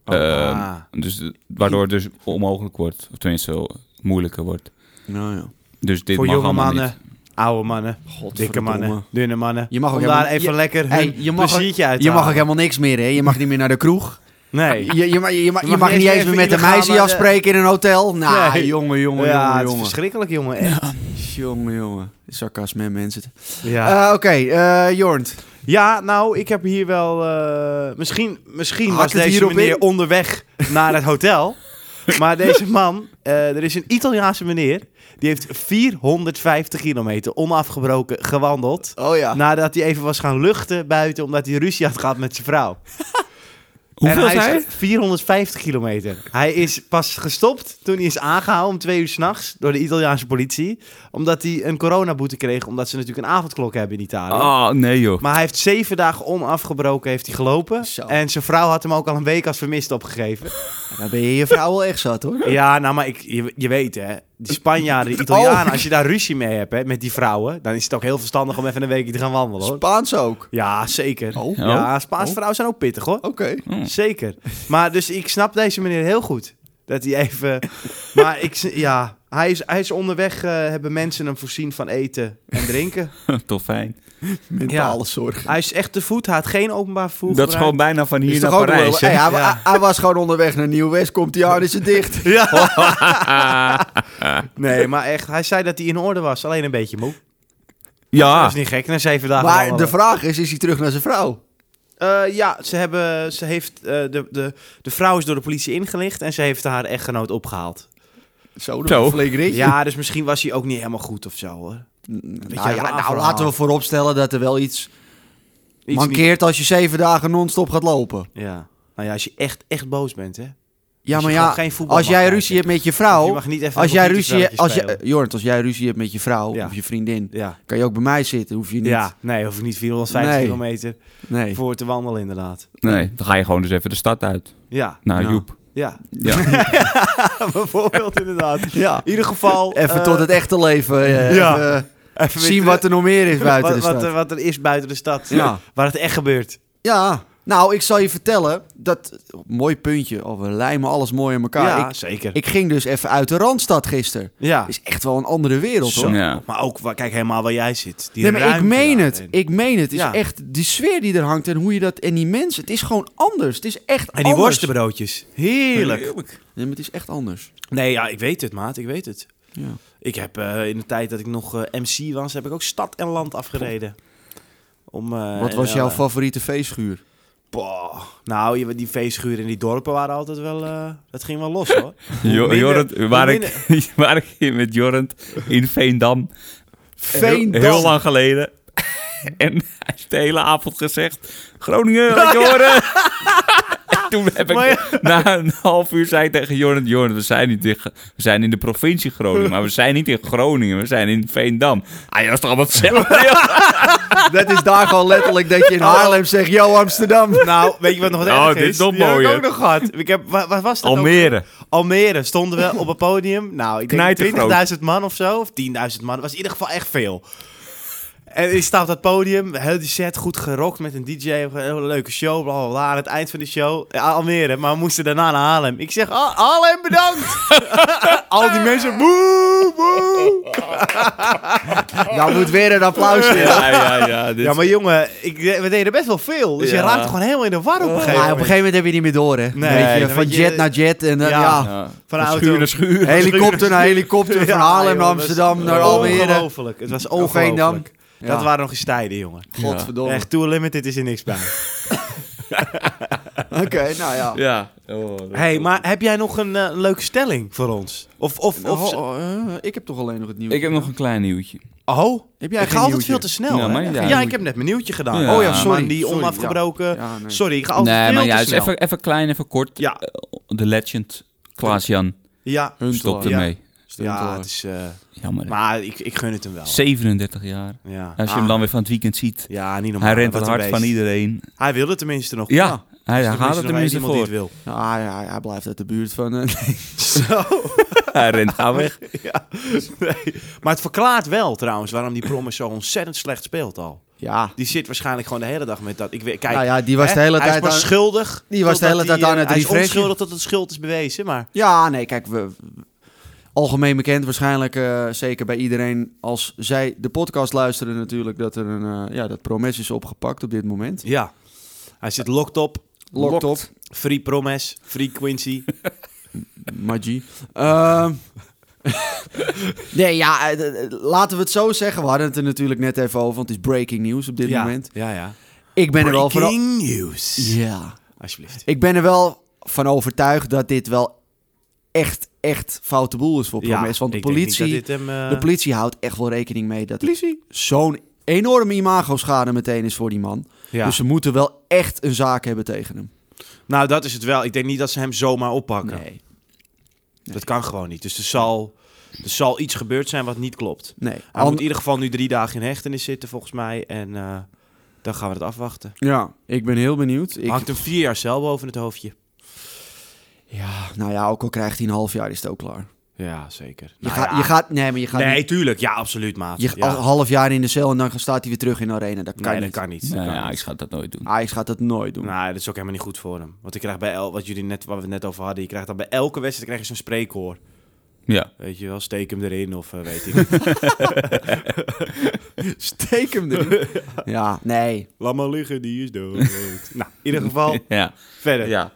Speaker 3: Oh,
Speaker 2: Ehm,
Speaker 3: ah.
Speaker 2: dus, eh, waardoor het dus onmogelijk wordt. Of tenminste, zo moeilijker wordt.
Speaker 1: Nou ja.
Speaker 2: Dus dit
Speaker 3: voor
Speaker 2: mag
Speaker 3: jonge
Speaker 2: allemaal
Speaker 3: mannen,
Speaker 2: niet.
Speaker 3: oude mannen, dikke
Speaker 1: Godverdomme.
Speaker 3: mannen, dunne mannen.
Speaker 1: Je mag ook
Speaker 3: Om daar
Speaker 1: helemaal-
Speaker 3: even
Speaker 1: je-
Speaker 3: lekker
Speaker 1: Hey,
Speaker 3: hun
Speaker 1: je, mag ook,
Speaker 3: pleziertje uit te
Speaker 1: je mag ook
Speaker 3: halen.
Speaker 1: helemaal niks meer, hè? Je mag niet meer naar de kroeg.
Speaker 3: Nee.
Speaker 1: Je, je, ma- je, ma-
Speaker 3: Je
Speaker 1: je,
Speaker 3: mag
Speaker 1: mag,
Speaker 3: niet
Speaker 1: niet eens meer
Speaker 3: eens even
Speaker 1: met een
Speaker 3: illegaal
Speaker 1: meisje
Speaker 3: naar de-
Speaker 1: afspreken in een hotel. Nou,
Speaker 3: Nee.
Speaker 1: jongen, jongen,
Speaker 3: ja, het
Speaker 1: jongen,
Speaker 3: is
Speaker 1: jongen.
Speaker 3: verschrikkelijk, jongen. Echt.
Speaker 1: Jongen, jongen. Sarcasme, mensen.
Speaker 3: Ja.
Speaker 1: Eh, Oké, eh Jornt.
Speaker 3: ja, nou, ik heb hier wel... eh, misschien misschien
Speaker 1: Hak
Speaker 3: was
Speaker 1: het
Speaker 3: deze
Speaker 1: hierop
Speaker 3: meneer
Speaker 1: in?
Speaker 3: onderweg naar het hotel. Maar deze man, eh, er is een Italiaanse meneer... die heeft 450 kilometer onafgebroken gewandeld...
Speaker 1: Oh ja.
Speaker 3: nadat hij even was gaan luchten buiten... omdat hij ruzie had gehad met zijn vrouw. en
Speaker 2: Hoeveel
Speaker 3: hij
Speaker 2: zijn
Speaker 3: is 450 kilometer. Hij is pas gestopt toen hij is aangehouden om twee uur s'nachts door de Italiaanse politie. Omdat hij een coronaboete kreeg, omdat ze natuurlijk een avondklok hebben in Italië.
Speaker 2: Oh, nee joh.
Speaker 3: Maar hij heeft zeven dagen onafgebroken heeft hij gelopen.
Speaker 1: Zo.
Speaker 3: En zijn vrouw had hem ook al een week als vermist opgegeven.
Speaker 1: Nou, Dan ben je je vrouw wel echt zat, hoor.
Speaker 3: ja, nou maar ik, je, je weet hè, die Spanjaarden, die Italianen,
Speaker 1: Oh.
Speaker 3: als je daar ruzie mee hebt hè, met die vrouwen, dan is het ook heel verstandig om even een weekje te gaan wandelen hoor.
Speaker 1: Spaans ook.
Speaker 3: Ja, zeker.
Speaker 1: Oh.
Speaker 3: Ja, Spaanse
Speaker 1: Oh.
Speaker 3: vrouwen zijn ook pittig hoor.
Speaker 1: Oké.
Speaker 2: Hm.
Speaker 3: Zeker. Maar dus ik snap deze meneer heel goed. Dat hij even. Maar ik, s- ja, hij is, hij is onderweg. eh, hebben mensen hem voorzien van eten en drinken.
Speaker 2: Toch fijn.
Speaker 1: Mentale zorg.
Speaker 3: Hij is echt te voet. Hij had geen openbaar vervoer.
Speaker 2: Dat is gewoon
Speaker 3: gebruikt.
Speaker 2: bijna van hier
Speaker 1: Is
Speaker 2: naar
Speaker 1: toch ook nog
Speaker 2: Parijs.
Speaker 1: wel-
Speaker 2: hè?
Speaker 1: Hey, hij,
Speaker 3: Ja.
Speaker 1: hij- hij was gewoon onderweg naar Nieuw-West. Komt hij aan, is het dicht.
Speaker 3: Nee, maar echt. Hij zei dat hij in orde was. Alleen een beetje moe. Dat
Speaker 2: Ja,
Speaker 3: is niet gek. Na zeven dagen.
Speaker 1: Maar de
Speaker 3: wandelen.
Speaker 1: vraag is, is hij terug naar zijn vrouw?
Speaker 3: Eh, ja, ze hebben. Ze heeft, eh, de, de, de vrouw is door de politie ingelicht. En ze heeft haar echtgenoot opgehaald.
Speaker 1: Zo,
Speaker 2: Zo.
Speaker 1: dat flink ritje.
Speaker 3: Ja, dus misschien was hij ook niet helemaal goed of zo hoor.
Speaker 1: nou,
Speaker 3: raar
Speaker 1: ja, nou
Speaker 3: verhaal.
Speaker 1: laten we vooropstellen dat er wel iets,
Speaker 3: Iets
Speaker 1: mankeert als je zeven dagen non-stop gaat lopen.
Speaker 3: niet- Ja. Nou ja, als je echt, echt boos bent, hè?
Speaker 1: Ja,
Speaker 3: Als je
Speaker 1: maar
Speaker 3: gewoon
Speaker 1: ja,
Speaker 3: geen voetbal
Speaker 1: als
Speaker 3: mag
Speaker 1: jij
Speaker 3: kijken.
Speaker 1: ruzie hebt met je
Speaker 3: Want je
Speaker 1: vrouw...
Speaker 3: mag niet even
Speaker 1: Oh, Als
Speaker 3: een
Speaker 1: jij,
Speaker 3: politiek
Speaker 1: ruzie,
Speaker 3: spelletje
Speaker 1: als, je,
Speaker 3: spelen.
Speaker 1: eh, Jorrit, als jij ruzie hebt met je vrouw
Speaker 3: Ja.
Speaker 1: of je vriendin,
Speaker 3: Ja.
Speaker 1: kan je ook bij mij zitten. Hoef je niet...
Speaker 3: ja, nee, hoef ik niet 450
Speaker 1: Nee.
Speaker 3: kilometer
Speaker 1: Nee.
Speaker 3: voor te wandelen, inderdaad.
Speaker 2: nee, dan ga je gewoon dus even de stad uit.
Speaker 3: Ja,
Speaker 2: Naar
Speaker 1: Ja.
Speaker 2: Joep.
Speaker 3: ja.
Speaker 2: Ja.
Speaker 3: bijvoorbeeld, inderdaad.
Speaker 1: Ja.
Speaker 3: In ieder geval...
Speaker 1: Even
Speaker 3: eh,
Speaker 1: tot het echte leven. eh,
Speaker 3: Ja.
Speaker 1: even, eh,
Speaker 3: even
Speaker 1: zien
Speaker 3: weer
Speaker 1: wat er nog meer is
Speaker 3: terug-
Speaker 1: buiten de
Speaker 3: wat, wat,
Speaker 1: stad.
Speaker 3: er- wat er is buiten de stad.
Speaker 1: Ja.
Speaker 3: Waar het echt gebeurt.
Speaker 1: Ja, Nou, ik zal je vertellen, dat mooi puntje, oh, we lijmen alles mooi aan elkaar.
Speaker 3: ja,
Speaker 1: Ik,
Speaker 3: zeker.
Speaker 1: ik ging dus even uit de Randstad gisteren.
Speaker 3: ja.
Speaker 1: Is echt wel een andere wereld hoor.
Speaker 3: Zo.
Speaker 2: Ja.
Speaker 3: Maar ook, waar- kijk helemaal waar jij zit. Die
Speaker 1: Nee, maar ik
Speaker 3: ruimte
Speaker 1: meen het.
Speaker 3: daarin.
Speaker 1: Ik meen het. Het
Speaker 3: Ja.
Speaker 1: is echt die sfeer die er hangt en hoe je dat en die mensen. Het is gewoon anders. Het is echt
Speaker 3: En die
Speaker 1: anders.
Speaker 3: worstenbroodjes. Heerlijk.
Speaker 1: Nee, maar het is echt anders.
Speaker 3: Nee, ja, ik weet het, maat. Ik weet het.
Speaker 1: Ja.
Speaker 3: Ik heb eh, in de tijd dat ik nog eh, MC was, heb ik ook stad en land afgereden. Om, eh,
Speaker 1: Wat was
Speaker 3: en,
Speaker 1: jouw
Speaker 3: eh,
Speaker 1: favoriete feestschuur?
Speaker 3: boah. Nou, je- die feestschuren in die dorpen waren altijd wel... eh, dat ging wel los, hoor.
Speaker 2: Jo-
Speaker 3: minder-
Speaker 2: Jorrit,
Speaker 3: hoe
Speaker 2: waar, ik, waar ik hier met Jorrit in Veendam,
Speaker 1: Veendam.
Speaker 2: Heel, heel lang geleden. en hij heeft de hele avond gezegd, Groningen, laat je horen. En Toen heb ik
Speaker 3: Maar
Speaker 2: na een half uur zei ik tegen Jorrit, Jorrit, we zijn, niet in, Ge- we zijn in de provincie Groningen, maar we zijn niet in Groningen, we zijn in Veendam. Ah, ja, dat is toch allemaal hetzelfde? joh?
Speaker 1: Dat is daar gewoon letterlijk dat je in Haarlem zegt, yo Amsterdam.
Speaker 3: Nou, weet je wat nog het
Speaker 2: Oh,
Speaker 3: erg
Speaker 2: dit
Speaker 3: is?
Speaker 2: is nog
Speaker 3: Die heb
Speaker 2: mooier.
Speaker 3: ik ook nog gehad. Ik heb, wa- wat was dat ook?
Speaker 2: Almere.
Speaker 3: Almere stonden we op een podium. Nou, ik denk
Speaker 2: Knijtergroot.
Speaker 3: 20.000 man of zo. Of 10.000 man. Dat was in ieder geval echt veel. En ik sta op dat podium. Heel die set goed gerokt met een DJ. Een hele leuke show. Bla bla bla. Aan het eind van de show. ja, Almere. Maar we moesten daarna naar Haarlem. Ik zeg: oh, Haarlem bedankt. Al die mensen. Woe, woe.
Speaker 1: Nou moet weer een applaus in.
Speaker 2: Ja, ja, ja. Dit
Speaker 3: Ja, maar jongen, ik, we deden best wel veel. Dus je
Speaker 2: Ja.
Speaker 3: raakt gewoon helemaal in de war op een gegeven
Speaker 1: Maar op een
Speaker 3: moment.
Speaker 1: gegeven moment heb je niet meer door, hè?
Speaker 3: Nee,
Speaker 1: Weet je,
Speaker 3: dan
Speaker 1: van
Speaker 3: weet je-
Speaker 1: jet naar jet en dan,
Speaker 3: Ja.
Speaker 1: ja.
Speaker 2: ja.
Speaker 3: Van
Speaker 2: Van
Speaker 3: de auto.
Speaker 2: schuur naar schuur.
Speaker 1: Helikopter naar helikopter, van Haarlem
Speaker 3: joh,
Speaker 1: naar
Speaker 3: dat is
Speaker 1: Amsterdam, naar Almere.
Speaker 3: Ongelooflijk. Het was
Speaker 1: Veendam.
Speaker 3: ongelooflijk.
Speaker 1: Ja.
Speaker 3: Dat waren nog eens tijden, jongen.
Speaker 1: Godverdomme.
Speaker 3: Echt, Tour Limited is er niks bij.
Speaker 1: Oké, nou ja.
Speaker 2: Ja. Oh, dat-
Speaker 3: hey, maar heb jij nog een eh, leuke stelling voor ons? Of, of,
Speaker 2: Nou,
Speaker 3: of...
Speaker 1: Oh, oh, eh, ik heb toch alleen nog het nieuws.
Speaker 2: Ik heb nog een klein nieuwtje.
Speaker 3: Oh,
Speaker 1: heb
Speaker 3: ik
Speaker 1: jij
Speaker 3: ga
Speaker 1: geen
Speaker 3: altijd
Speaker 1: nieuwtje?
Speaker 3: veel te snel,
Speaker 2: Ja,
Speaker 3: hè?
Speaker 2: maar
Speaker 3: ja,
Speaker 2: ja,
Speaker 3: ik heb net mijn nieuwtje gedaan.
Speaker 2: Ja.
Speaker 3: Oh ja, sorry.
Speaker 1: Maar
Speaker 3: die
Speaker 1: die
Speaker 3: onafgebroken...
Speaker 1: onafgebroken- Ja, nee.
Speaker 3: eh, Sorry, ik ga altijd
Speaker 2: nee,
Speaker 3: veel
Speaker 2: maar
Speaker 3: te
Speaker 2: juist
Speaker 3: snel.
Speaker 2: even, even klein, even kort.
Speaker 3: Ja.
Speaker 2: Eh, De legend, Klaas-Jan,
Speaker 3: Ja,
Speaker 2: stopt
Speaker 1: Ja.
Speaker 2: ermee.
Speaker 3: ja het is... eh,
Speaker 2: Jammer. hè.
Speaker 3: maar ik, ik gun het hem wel.
Speaker 2: 37 jaar.
Speaker 3: Ja,
Speaker 2: Als je hem dan weer van het weekend ziet.
Speaker 3: ja niet normaal.
Speaker 2: Hij rent
Speaker 3: Ah. Wat
Speaker 2: het
Speaker 3: een
Speaker 2: hart van
Speaker 3: beest.
Speaker 2: iedereen.
Speaker 3: Hij wilde tenminste nog.
Speaker 2: Ja,
Speaker 3: Nou,
Speaker 2: hij
Speaker 3: is
Speaker 2: gaat het tenminste
Speaker 3: nog één iemand
Speaker 2: voor.
Speaker 3: die het
Speaker 1: Ah, ja, hij blijft uit de buurt van... eh,
Speaker 3: wil. Zo.
Speaker 2: Hij rent gaan weg.
Speaker 3: Ja, nee. Maar het verklaart wel trouwens waarom die Promes zo ontzettend slecht speelt al.
Speaker 1: ja.
Speaker 3: Die zit waarschijnlijk gewoon de hele dag met dat. Ik weet, kijk,
Speaker 1: Nou ja, die was de hele
Speaker 3: hè, hij
Speaker 1: tijd
Speaker 3: is pas
Speaker 1: aan-
Speaker 3: schuldig.
Speaker 1: Die was de hele
Speaker 3: totdat hij,
Speaker 1: tijd aan
Speaker 3: eh,
Speaker 1: het
Speaker 3: Hij is
Speaker 1: refreshen.
Speaker 3: onschuldig tot het schuld is bewezen, maar...
Speaker 1: Ja, nee, kijk, we, algemeen bekend waarschijnlijk, eh, zeker bij iedereen als zij de podcast luisteren natuurlijk, dat er een, eh, ja, dat Promes is opgepakt op dit moment.
Speaker 3: Ja. Hij zit locked op.
Speaker 1: Locked op,
Speaker 2: Locked.
Speaker 3: Free Promes. Free Quincy.
Speaker 1: Magie. Ehm, nee, ja, eh, d- d- laten we het zo zeggen. We hadden het er natuurlijk net even over, want het is breaking news op dit
Speaker 3: ja.
Speaker 1: moment.
Speaker 3: Ja, ja.
Speaker 1: Ik ben er wel
Speaker 3: Breaking
Speaker 1: van...
Speaker 3: news.
Speaker 1: Ja.
Speaker 3: Alsjeblieft.
Speaker 1: Ik ben er wel van overtuigd dat dit wel echt, echt foute boel is voor Promes. want de
Speaker 3: ik denk niet
Speaker 1: politie...
Speaker 3: dat dit hem, eh,
Speaker 1: De politie houdt echt wel rekening mee dat het zo'n enorme imago-schade meteen is voor die man.
Speaker 3: ja.
Speaker 1: Dus ze moeten wel echt een zaak hebben tegen hem.
Speaker 3: Nou, dat is het wel. Ik denk niet dat ze hem zomaar oppakken.
Speaker 1: Nee.
Speaker 3: Dat kan gewoon niet. Dus er zal, er zal iets gebeurd zijn wat niet klopt.
Speaker 1: nee.
Speaker 3: Hij moet in ieder geval nu drie dagen in hechtenis zitten, volgens mij. En eh, dan gaan we het afwachten.
Speaker 1: Ja, ik ben heel benieuwd. Ik...
Speaker 3: Hangt hem vier jaar cel boven het hoofdje.
Speaker 1: Ja, nou ja, ook al krijgt hij een half jaar, is het ook klaar.
Speaker 3: Nou Ja, zeker.
Speaker 1: Je, gaat, je gaat... Nee, maar je gaat
Speaker 3: nee,
Speaker 1: niet...
Speaker 3: tuurlijk. Ja, absoluut, maat.
Speaker 1: Je, oh,
Speaker 3: ja.
Speaker 1: Een half jaar in de cel en dan staat hij weer terug in de arena. Dat kan
Speaker 3: nee, dat
Speaker 1: niet.
Speaker 3: kan niet. Dat
Speaker 2: Nou
Speaker 3: kan
Speaker 2: ja, ik
Speaker 3: niet.
Speaker 2: ga dat nooit doen.
Speaker 1: Ajax gaat dat nooit doen.
Speaker 3: Nou, dat is ook helemaal niet goed voor hem. Want ik krijg bij el, wat jullie net, waar we het net over hadden, je krijgt dan bij elke wedstrijd krijg je zo'n spreekhoor.
Speaker 2: Ja.
Speaker 3: Weet je wel, steek hem erin of eh, weet ik. niet.
Speaker 1: Steek hem erin. ja, nee.
Speaker 3: Laat maar liggen, die is dood. nou, in ieder geval,
Speaker 2: Ja.
Speaker 3: verder.
Speaker 2: ja.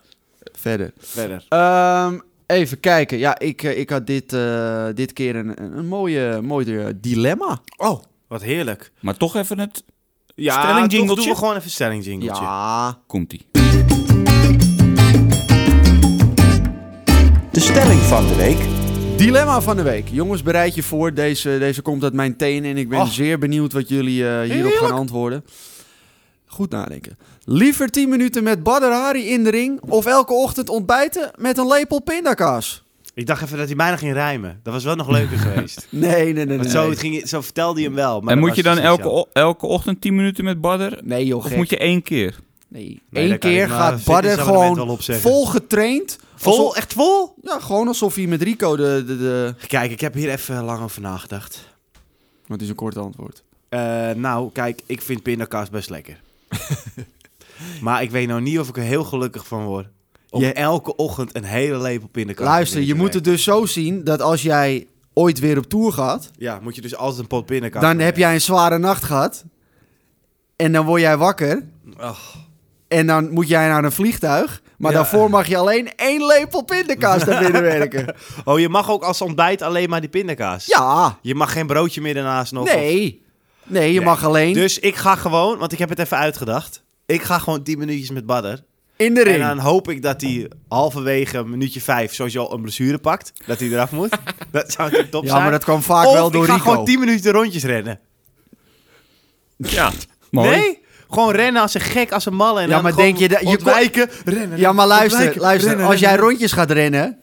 Speaker 1: Verder.
Speaker 3: Verder.
Speaker 1: Ehm, even kijken. Ja, ik, eh, ik had dit, eh, dit keer een, een, een mooie, mooie dilemma.
Speaker 3: Oh, wat heerlijk.
Speaker 2: Maar toch even het...
Speaker 3: Ja,
Speaker 2: Stelling
Speaker 3: toch
Speaker 2: jingletje?
Speaker 3: doen we gewoon even een stelling jingletje.
Speaker 1: Ja.
Speaker 2: Komt-ie.
Speaker 5: De stelling van de week.
Speaker 1: Dilemma van de week. Jongens, bereid je voor. Deze, deze komt uit mijn tenen en ik ben
Speaker 3: Oh.
Speaker 1: zeer benieuwd wat jullie eh, hierop gaan antwoorden. Goed nadenken. Liever 10 minuten met Badr Hari in de ring of elke ochtend ontbijten met een lepel pindakaas?
Speaker 3: Ik dacht even dat hij bijna ging rijmen. Dat was wel nog leuker geweest.
Speaker 1: Nee, nee, nee. nee,
Speaker 3: Want zo,
Speaker 1: nee.
Speaker 3: het ging, zo vertelde hij hem wel. Maar
Speaker 2: en
Speaker 3: dat
Speaker 2: moet je
Speaker 3: was
Speaker 2: dan
Speaker 3: dus niet
Speaker 2: elke,
Speaker 3: zo.
Speaker 2: o- elke ochtend 10 minuten met Badder?
Speaker 1: Nee, joh,
Speaker 2: Of
Speaker 1: gek.
Speaker 2: moet je één keer?
Speaker 1: Nee.
Speaker 3: Nee,
Speaker 1: Eén
Speaker 3: daar kan
Speaker 1: keer
Speaker 3: ik me
Speaker 1: gaat
Speaker 3: fitness
Speaker 1: Badr
Speaker 3: element wel
Speaker 1: gewoon
Speaker 3: op zeggen.
Speaker 1: vol getraind.
Speaker 3: Vol?
Speaker 1: Alsof-
Speaker 3: Echt vol?
Speaker 1: ja, gewoon alsof hij met Rico de... de, de...
Speaker 3: Kijk, ik heb hier even lang over nagedacht.
Speaker 1: Want het is een kort antwoord.
Speaker 3: Eh, nou, kijk, ik vind pindakaas best lekker. Maar ik weet nou niet of ik er heel gelukkig van word. Om
Speaker 1: Je-
Speaker 3: elke ochtend een hele lepel pindakaas.
Speaker 1: Luister,
Speaker 3: binnen
Speaker 1: je
Speaker 3: te
Speaker 1: moet het
Speaker 3: werken.
Speaker 1: dus zo zien dat als jij ooit weer op tour gaat,
Speaker 3: Ja, moet je dus altijd een pot pindakaas.
Speaker 1: dan heb jij een zware nacht gehad. En dan word jij wakker.
Speaker 3: Ach.
Speaker 1: En dan moet jij naar een vliegtuig. Maar
Speaker 3: Ja.
Speaker 1: daarvoor mag je alleen één lepel pindakaas naar binnen werken.
Speaker 3: Oh, je mag ook als ontbijt alleen maar die pindakaas.
Speaker 1: Ja,
Speaker 3: Je mag geen broodje meer daarnaast nog. of-
Speaker 1: nee. Nee, je
Speaker 3: Nee.
Speaker 1: mag alleen
Speaker 3: Dus ik ga gewoon, want ik heb het even uitgedacht. Ik ga gewoon 10 minuutjes met Badder.
Speaker 1: in de
Speaker 3: En
Speaker 1: ring.
Speaker 3: dan hoop ik dat hij halverwege minuutje 5 sowieso een blessure pakt. Dat hij eraf moet. dat zou natuurlijk top
Speaker 1: ja,
Speaker 3: zijn.
Speaker 1: maar dat kwam vaak
Speaker 3: of
Speaker 1: wel door
Speaker 3: ik ga
Speaker 1: Rico.
Speaker 3: gewoon 10 minuten rondjes rennen.
Speaker 2: Ja, mooi.
Speaker 3: Nee? Gewoon rennen als een gek, als een malle. En
Speaker 1: Ja,
Speaker 3: dan
Speaker 1: maar
Speaker 3: gewoon
Speaker 1: denk je dat- je
Speaker 3: ontwijken, rennen.
Speaker 1: Ja, maar luister,
Speaker 3: ontwijken,
Speaker 1: luister.
Speaker 3: rennen,
Speaker 1: als jij
Speaker 3: rennen,
Speaker 1: rondjes gaat rennen,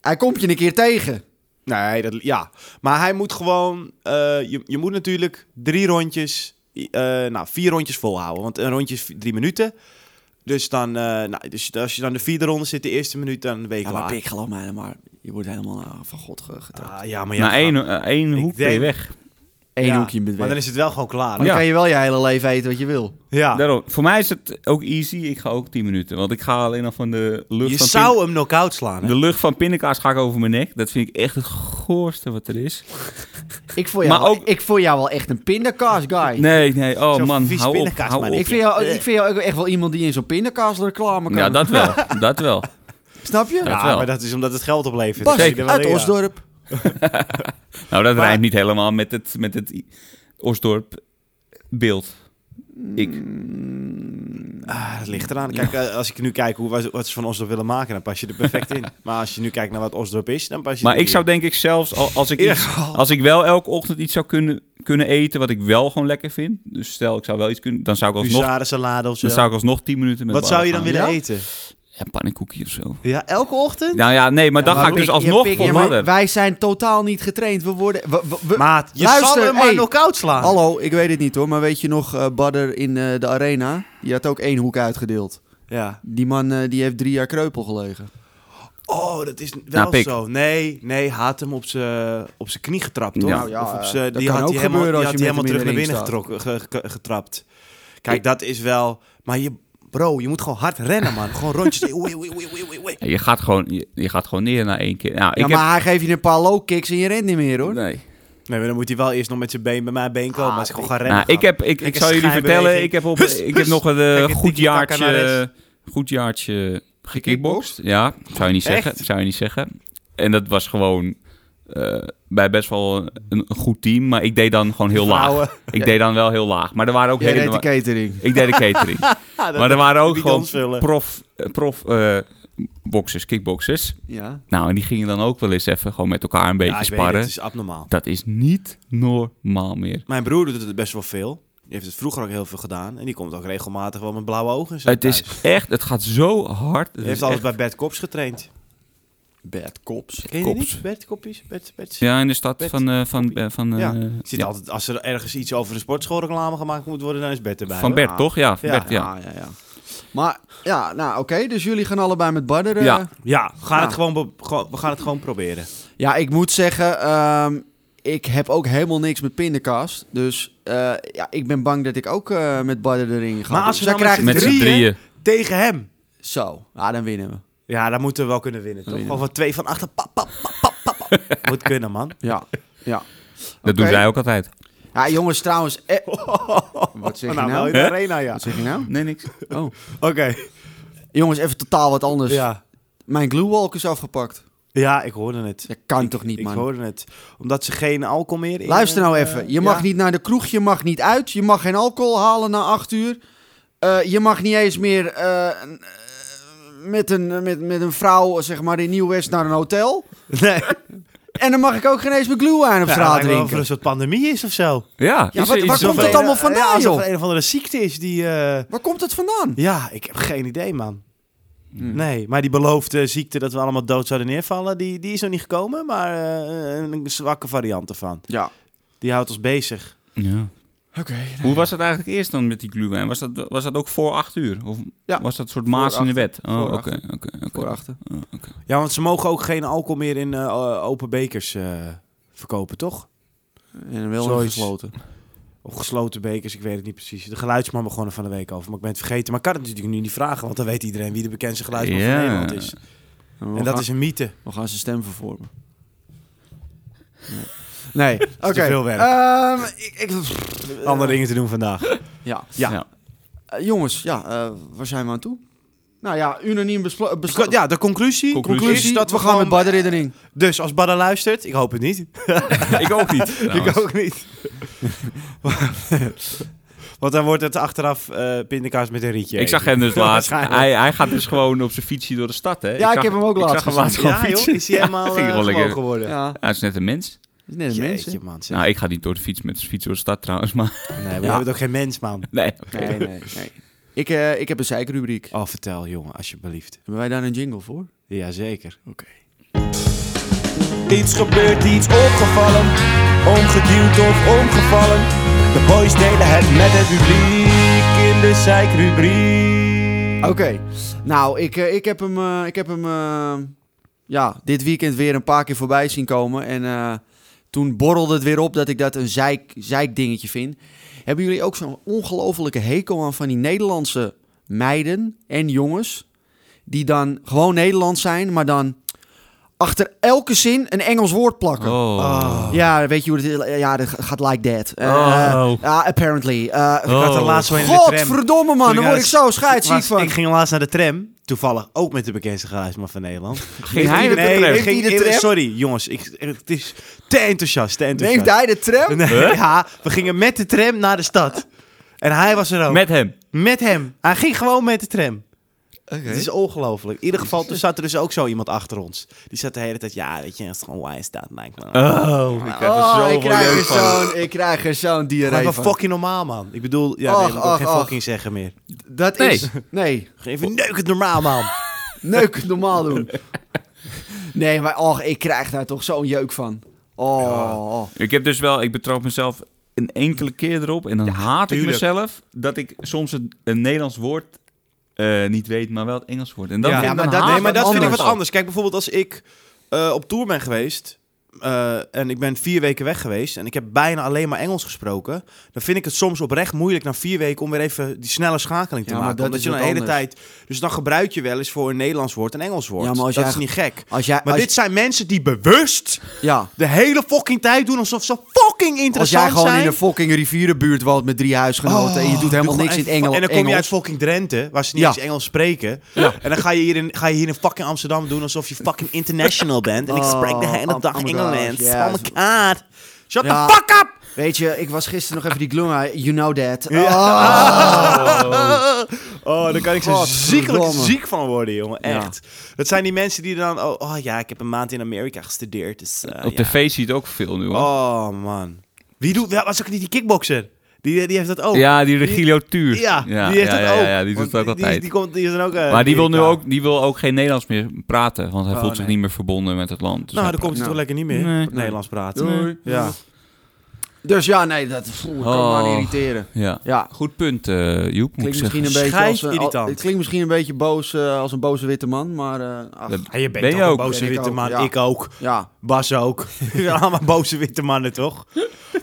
Speaker 1: hij komt je een keer tegen.
Speaker 3: rennen. Nee, dat, ja. Maar hij moet gewoon... eh, je, je moet natuurlijk drie rondjes... eh, nou, vier rondjes volhouden. Want een rondje is vi- drie minuten. Dus, dan, eh, nou, dus als je dan de vierde ronde zit, de eerste minuut, dan weet je klaar.
Speaker 1: geloof mij, maar je wordt helemaal
Speaker 3: eh,
Speaker 1: van God getrapt.
Speaker 3: Ah, ja, maar ja,
Speaker 2: Na één, eh, één
Speaker 3: Ik
Speaker 2: hoek ben je
Speaker 3: denk-
Speaker 2: weg.
Speaker 1: Eén
Speaker 3: ja,
Speaker 1: hoekje met
Speaker 3: Maar dan
Speaker 1: weg.
Speaker 3: is het wel gewoon klaar.
Speaker 1: Dan
Speaker 2: Ja.
Speaker 1: kan je wel je hele leven eten wat je wil.
Speaker 3: Ja.
Speaker 2: Daarom, voor mij is het ook easy. Ik ga ook 10 minuten. Want ik ga alleen al van de lucht
Speaker 3: Je
Speaker 2: van
Speaker 3: zou hem knock-out slaan.
Speaker 2: pin-
Speaker 3: Hè?
Speaker 2: De lucht van pindakaas ga ik over mijn nek. Dat vind ik echt het goorste wat er is.
Speaker 1: Ik vond jou,
Speaker 2: Maar ook-
Speaker 1: ik vond jou wel echt een pindakaas guy.
Speaker 2: Nee, nee. Oh
Speaker 3: Zo'n
Speaker 2: man,
Speaker 3: vies
Speaker 2: hou op.
Speaker 3: pindakaas,
Speaker 2: Hou
Speaker 3: man.
Speaker 2: op.
Speaker 1: Ik vind, jou, ik vind jou ook echt wel iemand die in zo'n pindakaas reclame kan.
Speaker 2: Ja, dat wel. Dat wel.
Speaker 1: Snap je?
Speaker 2: Ja.
Speaker 3: Ja,
Speaker 2: wel.
Speaker 3: maar dat is omdat het geld oplevert.
Speaker 1: Bas,
Speaker 3: Dus je er wel
Speaker 1: uit
Speaker 3: in, ja.
Speaker 1: Osdorp.
Speaker 2: Nou, dat
Speaker 3: Maar-
Speaker 2: rijmt niet helemaal met het, met het I- Osdorp beeld. Ik.
Speaker 3: Ah, dat ligt eraan. Kijk, eh, als ik nu kijk hoe, wat ze van Osdorp willen maken, dan pas je er perfect in. Maar als je nu kijkt naar wat Osdorp is, dan pas je
Speaker 2: Maar
Speaker 3: er
Speaker 2: ik
Speaker 3: niet
Speaker 2: zou denk ik zelfs, al- als ik,
Speaker 3: Ja.
Speaker 2: iets, als ik wel elke ochtend iets zou kunnen, kunnen eten wat ik wel gewoon lekker vind. Dus stel ik zou wel iets kunnen, dan zou ik
Speaker 3: in.
Speaker 2: alsnog,
Speaker 3: Huzarensalade of zo.
Speaker 2: dan zou ik alsnog 10 minuten met
Speaker 3: Wat
Speaker 2: Barbara
Speaker 3: zou je dan
Speaker 2: gaan.
Speaker 3: willen
Speaker 1: Ja?
Speaker 3: eten?
Speaker 2: Ja, pannenkoekje of zo.
Speaker 3: Ja, elke ochtend?
Speaker 2: Nou ja, nee, maar
Speaker 1: Ja,
Speaker 2: dan ga ik
Speaker 1: pik-
Speaker 2: dus
Speaker 1: je
Speaker 2: alsnog
Speaker 1: pik-
Speaker 2: voor
Speaker 1: ja, maar
Speaker 2: Wadden.
Speaker 1: Wij zijn totaal niet getraind. We worden... we- we- we-
Speaker 3: Maat, je
Speaker 1: Luister,
Speaker 3: zal hem maar
Speaker 1: hey.
Speaker 3: knock-out slaan.
Speaker 1: Hallo, ik weet het niet hoor, maar weet je nog eh, Badder in eh, de arena? Die had ook één hoek uitgedeeld.
Speaker 3: Ja.
Speaker 1: Die man eh, die heeft drie jaar kreupel gelegen.
Speaker 3: Oh, dat is wel
Speaker 2: Nou, pik.
Speaker 3: zo. Nee, nee, haat hem op zijn op zijn knie getrapt, hoor.
Speaker 2: Ja.
Speaker 1: Nou ja,
Speaker 3: op
Speaker 1: eh,
Speaker 3: zijn-
Speaker 1: dat
Speaker 3: die
Speaker 1: kan
Speaker 3: had
Speaker 1: ook
Speaker 3: hij helemaal, die
Speaker 1: gebeuren als
Speaker 3: had
Speaker 1: je
Speaker 3: hij
Speaker 1: met
Speaker 3: helemaal terug naar
Speaker 1: hem in
Speaker 3: binnen
Speaker 1: de
Speaker 3: getrokken, ge- ge- getrapt. Kijk, dat is wel... Maar je, bro, je moet gewoon hard rennen, man. gewoon rondjes. Oei, oei, oei, oei, oei, oei.
Speaker 2: Ja, Je gaat, gewoon, je, je gaat gewoon neer na één keer. Nou, ik
Speaker 1: Ja, maar hij geeft je een paar low kicks en je rent niet meer
Speaker 2: heb,
Speaker 1: hoor.
Speaker 2: Nee.
Speaker 3: Nee, maar dan moet hij wel eerst nog met zijn been bij mijn been
Speaker 1: Ah,
Speaker 3: komen. als ik gewoon ga rennen.
Speaker 2: Nou, ik, heb, ik, ik
Speaker 3: Lekker
Speaker 2: zou jullie
Speaker 3: schijnbeweging.
Speaker 2: vertellen, ik heb, op,
Speaker 3: Hus,
Speaker 2: ik heb
Speaker 3: hus.
Speaker 2: nog een eh,
Speaker 3: Lekker
Speaker 2: goed
Speaker 3: tiki-taka naar
Speaker 2: jaartje, goed jaartje gekickboxd. Ja, zou je niet zeggen.
Speaker 3: Echt?
Speaker 2: Zou je niet zeggen. En dat was gewoon eh, bij best wel een, een goed team. Maar ik deed dan gewoon heel
Speaker 3: Vrouwen.
Speaker 2: laag. Ik deed dan wel heel laag. Maar er waren ook
Speaker 1: Jij
Speaker 2: hele...
Speaker 1: reed de catering.
Speaker 2: Ik deed de catering. maar er waren ook gewoon
Speaker 3: bidons vullen.
Speaker 2: prof, eh, prof eh, boxers, kickboxers.
Speaker 1: Ja.
Speaker 2: Nou, en die gingen dan ook wel eens even gewoon met elkaar een beetje
Speaker 3: ja, ik weet het,
Speaker 2: sparren.
Speaker 3: het is abnormaal.
Speaker 2: Dat is niet normaal meer.
Speaker 3: Mijn broer doet het best wel veel. Die heeft het vroeger ook heel veel gedaan. En die komt ook regelmatig wel met blauwe ogen. en zo
Speaker 2: Het is
Speaker 3: thuis.
Speaker 2: echt, het gaat zo hard. Het
Speaker 3: Hij
Speaker 2: is
Speaker 3: heeft altijd
Speaker 2: echt-
Speaker 3: bij Bert Kops getraind.
Speaker 1: Bad cops.
Speaker 3: Ken je die
Speaker 2: Kops.
Speaker 3: niet? Bert Kopjes? Bert, Bert.
Speaker 2: Ja, in de stad
Speaker 3: Bert.
Speaker 2: van, eh, van, eh, van, eh,
Speaker 3: Ja,
Speaker 2: ja.
Speaker 3: Ik zit altijd, als er ergens iets over een sportschoolreclame gemaakt moet worden, dan is Bert erbij.
Speaker 2: van
Speaker 3: hoor.
Speaker 2: Bert, toch? Ja, van
Speaker 3: Ah. Ja,
Speaker 2: Bert, ja.
Speaker 1: Ah, Ja, ja, ja. Maar, ja, nou oké, dus jullie gaan allebei met Badder. eh.
Speaker 2: Ja.
Speaker 3: Ja, we gaan,
Speaker 1: Ja.
Speaker 3: Het gewoon be- gewoon, we gaan het gewoon proberen.
Speaker 1: ja, ik moet zeggen, ehm, ik heb ook helemaal niks met pindakaas. Dus eh, ja, ik ben bang dat ik ook eh, met Badder de ring ga.
Speaker 3: Maar als
Speaker 1: Dus
Speaker 3: we
Speaker 1: dan
Speaker 3: dan
Speaker 1: krijg
Speaker 2: Met
Speaker 1: ik
Speaker 2: z'n
Speaker 1: drie.
Speaker 3: drieën.
Speaker 2: drieën.
Speaker 3: Tegen hem.
Speaker 1: Zo, ja, dan winnen we.
Speaker 3: Ja, dan moeten we wel kunnen winnen, toch?
Speaker 1: Winnen.
Speaker 3: Gewoon van twee van achter. Pap, pap, pap, pap, pap. Moet kunnen, man.
Speaker 1: Ja, ja.
Speaker 2: Dat doen
Speaker 1: Oké.
Speaker 2: zij ook altijd.
Speaker 1: Ja, jongens, trouwens. eh, Wat zeg je
Speaker 3: nou, wel
Speaker 1: nou?
Speaker 3: in de
Speaker 2: Hè?
Speaker 3: arena, ja.
Speaker 1: Wat zeg je nou?
Speaker 2: Nee, niks.
Speaker 1: Oh.
Speaker 3: Oké.
Speaker 1: Jongens, even totaal wat anders.
Speaker 3: Ja.
Speaker 1: Mijn glue-walk is afgepakt.
Speaker 3: ja, ik hoorde het.
Speaker 1: Dat kan
Speaker 3: Ik-
Speaker 1: toch niet, man?
Speaker 3: Ik hoorde het. Omdat ze geen alcohol meer in...
Speaker 1: Luister nou
Speaker 3: eh,
Speaker 1: even. Je mag
Speaker 3: ja.
Speaker 1: niet naar de kroeg, je mag niet uit, je mag geen alcohol halen na acht uur. Eh, je mag niet eens meer eh, een- eh, met, een, met, met een vrouw, zeg maar, in Nieuw-West naar een hotel.
Speaker 3: Nee.
Speaker 1: En dan mag ik ook geen eens mijn glühwein op
Speaker 3: Ja,
Speaker 1: straat
Speaker 3: lijkt wel of er
Speaker 1: drinken.
Speaker 3: een soort pandemie is of zo.
Speaker 2: Ja,
Speaker 1: Ja,
Speaker 2: is
Speaker 1: wat-
Speaker 2: er-
Speaker 1: waar
Speaker 2: is er-
Speaker 1: komt
Speaker 3: Alsof
Speaker 1: het
Speaker 3: er-
Speaker 1: allemaal vandaan,
Speaker 3: alsof
Speaker 1: joh?
Speaker 3: er een of andere ziekte is die... eh,
Speaker 1: Waar komt dat vandaan?
Speaker 3: Ja, ik heb geen idee, man.
Speaker 1: Hmm.
Speaker 3: Nee, maar die beloofde ziekte dat we allemaal dood zouden neervallen, die, die is nog niet gekomen. Maar eh, een zwakke variant ervan.
Speaker 1: Ja.
Speaker 3: Die houdt ons bezig.
Speaker 2: Ja.
Speaker 1: Oké.
Speaker 2: Hoe was dat eigenlijk eerst dan met die glühwein? Was dat, was dat ook voor acht uur? Of
Speaker 1: Ja.
Speaker 2: was dat een soort maas
Speaker 1: Voor
Speaker 2: in de wet? Oh,
Speaker 1: Voor
Speaker 2: oké,
Speaker 1: acht.
Speaker 2: oké, oké.
Speaker 1: Voor achter.
Speaker 3: Ja, want ze mogen ook geen alcohol meer in eh, open bekers eh, verkopen, toch?
Speaker 1: En wel
Speaker 3: Zoiets.
Speaker 1: gesloten.
Speaker 3: Of gesloten bekers, ik weet het niet precies. De geluidsman begon er van de week over, maar ik ben het vergeten. Maar ik kan het natuurlijk nu niet vragen, want dan weet iedereen wie de bekendste geluidsman
Speaker 2: Ja.
Speaker 3: van Nederland is. En dat is een mythe.
Speaker 1: We gaan zijn stem vervormen. Nee, nee. oké.
Speaker 3: veel werk.
Speaker 1: Ehm, ik, ik,
Speaker 3: Andere dingen te doen vandaag.
Speaker 1: Ja.
Speaker 3: Ja.
Speaker 2: Ja.
Speaker 1: Eh, jongens, ja, eh, waar zijn we aan toe? Nou ja, unaniem beslo- eh, beslo-
Speaker 3: Dus Ja, de conclusie,
Speaker 2: Conclusie.
Speaker 1: conclusie
Speaker 3: is dat we,
Speaker 1: gaan met
Speaker 3: gewoon...
Speaker 1: Badder in de ring.
Speaker 3: Dus als Badda luistert, ik hoop het niet.
Speaker 2: ik ook niet. trouwens.
Speaker 3: Ik ook niet. Want dan wordt het achteraf eh pindakaas met een rietje.
Speaker 2: Ik zag hem dus laatst.
Speaker 3: Waarschijnlijk.
Speaker 2: Hij, hij gaat dus gewoon op zijn fietsje door de stad, hè?
Speaker 1: ik
Speaker 2: zag-
Speaker 1: heb hem ook laatst
Speaker 2: Ik zag hem laatst gewoon
Speaker 3: Ja, joh,
Speaker 2: fietsen.
Speaker 3: is hij helemaal
Speaker 2: ging
Speaker 3: eh,
Speaker 2: gewoon lekker.
Speaker 3: gewoon geworden.
Speaker 1: Ja, dat
Speaker 2: Hij is net een mens.
Speaker 1: is net een
Speaker 3: Jeetje,
Speaker 1: mensen.
Speaker 3: man. zeg.
Speaker 2: Nou, ik ga niet door de fiets met zijn fiets door de stad trouwens, maar...
Speaker 3: nee, we
Speaker 1: Ja.
Speaker 3: hebben toch geen mens, man.
Speaker 2: Nee,
Speaker 1: Nee, nee, nee. Ik, eh, ik heb een zeikrubriek.
Speaker 3: Oh, vertel, jongen, alsjeblieft.
Speaker 1: Hebben wij daar een jingle voor?
Speaker 3: Jazeker.
Speaker 1: Oké.
Speaker 5: Iets gebeurt, iets opgevallen. Omgeduwd of omgevallen. De boys delen het met het publiek in de zeikrubriek.
Speaker 1: Oké. Nou, ik, eh, ik heb hem, eh, ik heb hem eh, ja, dit weekend weer een paar keer voorbij zien komen. En eh, toen borrelde het weer op dat ik dat een zeik, zeikdingetje vind. Hebben jullie ook zo'n ongelofelijke hekel aan van die Nederlandse meiden en jongens? Die dan gewoon Nederlands zijn, maar dan achter elke zin een Engels woord plakken.
Speaker 3: Ah,
Speaker 2: Oh.
Speaker 1: Ja, weet je hoe het is? Ja, dat gaat like that. Eh,
Speaker 2: Oh.
Speaker 1: ja, apparently. Eh
Speaker 3: Ik had er
Speaker 2: Oh.
Speaker 3: laatst wel in de tram.
Speaker 1: Godverdomme man,
Speaker 3: Toen
Speaker 1: daar
Speaker 3: ik
Speaker 1: word ik
Speaker 3: naar
Speaker 1: zo
Speaker 3: Ik
Speaker 1: scheidsziek
Speaker 3: was-
Speaker 1: van.
Speaker 3: Ik ging laatst naar de tram. Toevallig ook met de bekendste geluidsman van Nederland.
Speaker 2: Ging hij met de
Speaker 3: Nee,
Speaker 2: tram?
Speaker 3: ik
Speaker 1: Heeft hij de
Speaker 3: ik-
Speaker 1: tram?
Speaker 3: Sorry, jongens. Ik, het is te enthousiast, te enthousiast.
Speaker 1: Neemt hij de tram?
Speaker 3: Nee, ja, we gingen met de tram naar de stad. En hij was er ook.
Speaker 2: Met hem.
Speaker 3: Met hem. Hij ging gewoon met de tram.
Speaker 1: Oké.
Speaker 3: Het is ongelooflijk. In ieder geval, toen zat er dus ook zo iemand achter ons. Die zat de hele tijd, ja, weet je, het is gewoon waar hij staat, lijkt me.
Speaker 2: Oh, ik krijg er
Speaker 1: Oh,
Speaker 2: zoveel
Speaker 1: ik krijg er
Speaker 2: jeuk van.
Speaker 1: zo'n, ik krijg er zo'n
Speaker 3: maar
Speaker 1: diarree
Speaker 3: wat
Speaker 1: van.
Speaker 3: fucking normaal, man. Ik bedoel, ja, nee,
Speaker 1: Och,
Speaker 3: ik mag ook
Speaker 1: och,
Speaker 3: geen
Speaker 1: och.
Speaker 3: fucking zeggen meer.
Speaker 1: Dat
Speaker 2: Nee.
Speaker 1: is, nee,
Speaker 3: Geef een neuk het normaal, man.
Speaker 1: neuk normaal doen. Nee, maar och, ik krijg daar toch zo'n jeuk van. Oh, oh.
Speaker 2: Ik heb dus wel, ik betrap mezelf een enkele keer erop en dan haat ik
Speaker 3: tuurlijk.
Speaker 2: mezelf dat ik soms een, een Nederlands woord eh, niet weet, maar wel het Engels woord. En dan
Speaker 1: Ja,
Speaker 2: vind ik
Speaker 1: maar
Speaker 2: dan
Speaker 1: dat-
Speaker 2: haat
Speaker 3: nee, maar dat vind ik wat
Speaker 1: anders.
Speaker 3: anders. Kijk, bijvoorbeeld als ik eh, op tour ben geweest... eh, en ik ben vier weken weg geweest en ik heb bijna alleen maar Engels gesproken. Dan vind ik het soms oprecht moeilijk na vier weken om weer even die snelle schakeling te
Speaker 1: Ja, maar
Speaker 3: maken.
Speaker 1: dat
Speaker 3: omdat
Speaker 1: is
Speaker 3: je dan de
Speaker 1: wat
Speaker 3: hele
Speaker 1: anders.
Speaker 3: tijd. Dus dan gebruik je wel eens voor een Nederlands woord een Engels woord.
Speaker 1: Ja, maar als
Speaker 3: dat
Speaker 1: jij-
Speaker 3: is niet gek.
Speaker 1: Als jij,
Speaker 3: Maar
Speaker 1: als,
Speaker 3: dit zijn mensen die bewust
Speaker 1: ja,
Speaker 3: de hele fucking tijd doen alsof ze fucking
Speaker 1: als
Speaker 3: interessant
Speaker 1: jij gewoon
Speaker 3: zijn. Oh,
Speaker 1: in een fucking rivierenbuurt woont met drie huisgenoten en je doet helemaal
Speaker 3: Doe
Speaker 1: niks in het
Speaker 3: gewoon
Speaker 1: Engel,
Speaker 3: even- En dan kom je uit
Speaker 1: Engels.
Speaker 3: fucking Drenthe, waar ze niet
Speaker 1: Ja.
Speaker 3: eens Engels spreken. En dan ga je, hier in, ga je hier in fucking Amsterdam doen alsof je fucking international bent. En ik spreek de
Speaker 1: Oh,
Speaker 3: hele
Speaker 1: oh
Speaker 3: dag
Speaker 1: my gosh,
Speaker 3: Engels.
Speaker 1: ja,
Speaker 3: Oh my god. Shut
Speaker 1: Ja.
Speaker 3: the fuck up!
Speaker 1: Weet je, ik was gisteren nog even die glum, you know that.
Speaker 3: Oh, daar kan ik zo ziekelijk
Speaker 1: Godverdomme.
Speaker 3: ziek van worden, jongen.
Speaker 1: Ja.
Speaker 3: Echt. Dat zijn die mensen die dan... Oh, oh ja, ik heb een maand in Amerika gestudeerd. Dus, eh,
Speaker 2: Op
Speaker 3: ja.
Speaker 2: tv zie je het ook veel nu, hoor.
Speaker 3: Oh, man. Wie doet... wel, Was ook niet die kickboxer? Die, die heeft dat ook.
Speaker 2: ja, die Regilio Tuur.
Speaker 3: Ja, die heeft
Speaker 2: ja,
Speaker 3: dat
Speaker 2: ja,
Speaker 3: ook.
Speaker 2: ja, die doet
Speaker 3: Want
Speaker 2: het ook
Speaker 3: Die,
Speaker 2: altijd.
Speaker 3: die komt, die is dan ook... eh,
Speaker 2: maar die wil nu
Speaker 3: Amerika.
Speaker 2: ook, die wil ook geen Nederlands meer praten, want hij
Speaker 1: Oh,
Speaker 2: voelt zich
Speaker 1: nee.
Speaker 2: niet meer verbonden met het land. Dus
Speaker 3: nou,
Speaker 2: hij
Speaker 3: dan komt hij
Speaker 1: Nou.
Speaker 3: toch lekker niet meer
Speaker 2: Nee.
Speaker 3: Nederlands praten.
Speaker 1: Doei.
Speaker 3: Ja.
Speaker 1: Dus ja, nee, dat voel, dat kan me
Speaker 2: Oh.
Speaker 1: aan irriteren.
Speaker 2: praat- ja.
Speaker 1: Ja,
Speaker 2: Goed punt, eh Joep, moet ik
Speaker 1: klinkt
Speaker 2: zeggen.
Speaker 1: misschien een beetje als, een-
Speaker 3: Schijt
Speaker 1: al- het klinkt misschien een beetje boos eh, als een boze witte man, maar eh, ach,
Speaker 2: Dat-
Speaker 3: je bent
Speaker 2: Ben je
Speaker 3: toch een
Speaker 2: ook?
Speaker 3: boze
Speaker 1: Ben ik
Speaker 3: witte
Speaker 1: ook,
Speaker 3: man.
Speaker 1: ja.
Speaker 3: Ik ook.
Speaker 1: ja.
Speaker 3: Bas ook. We zijn allemaal boze witte mannen, toch?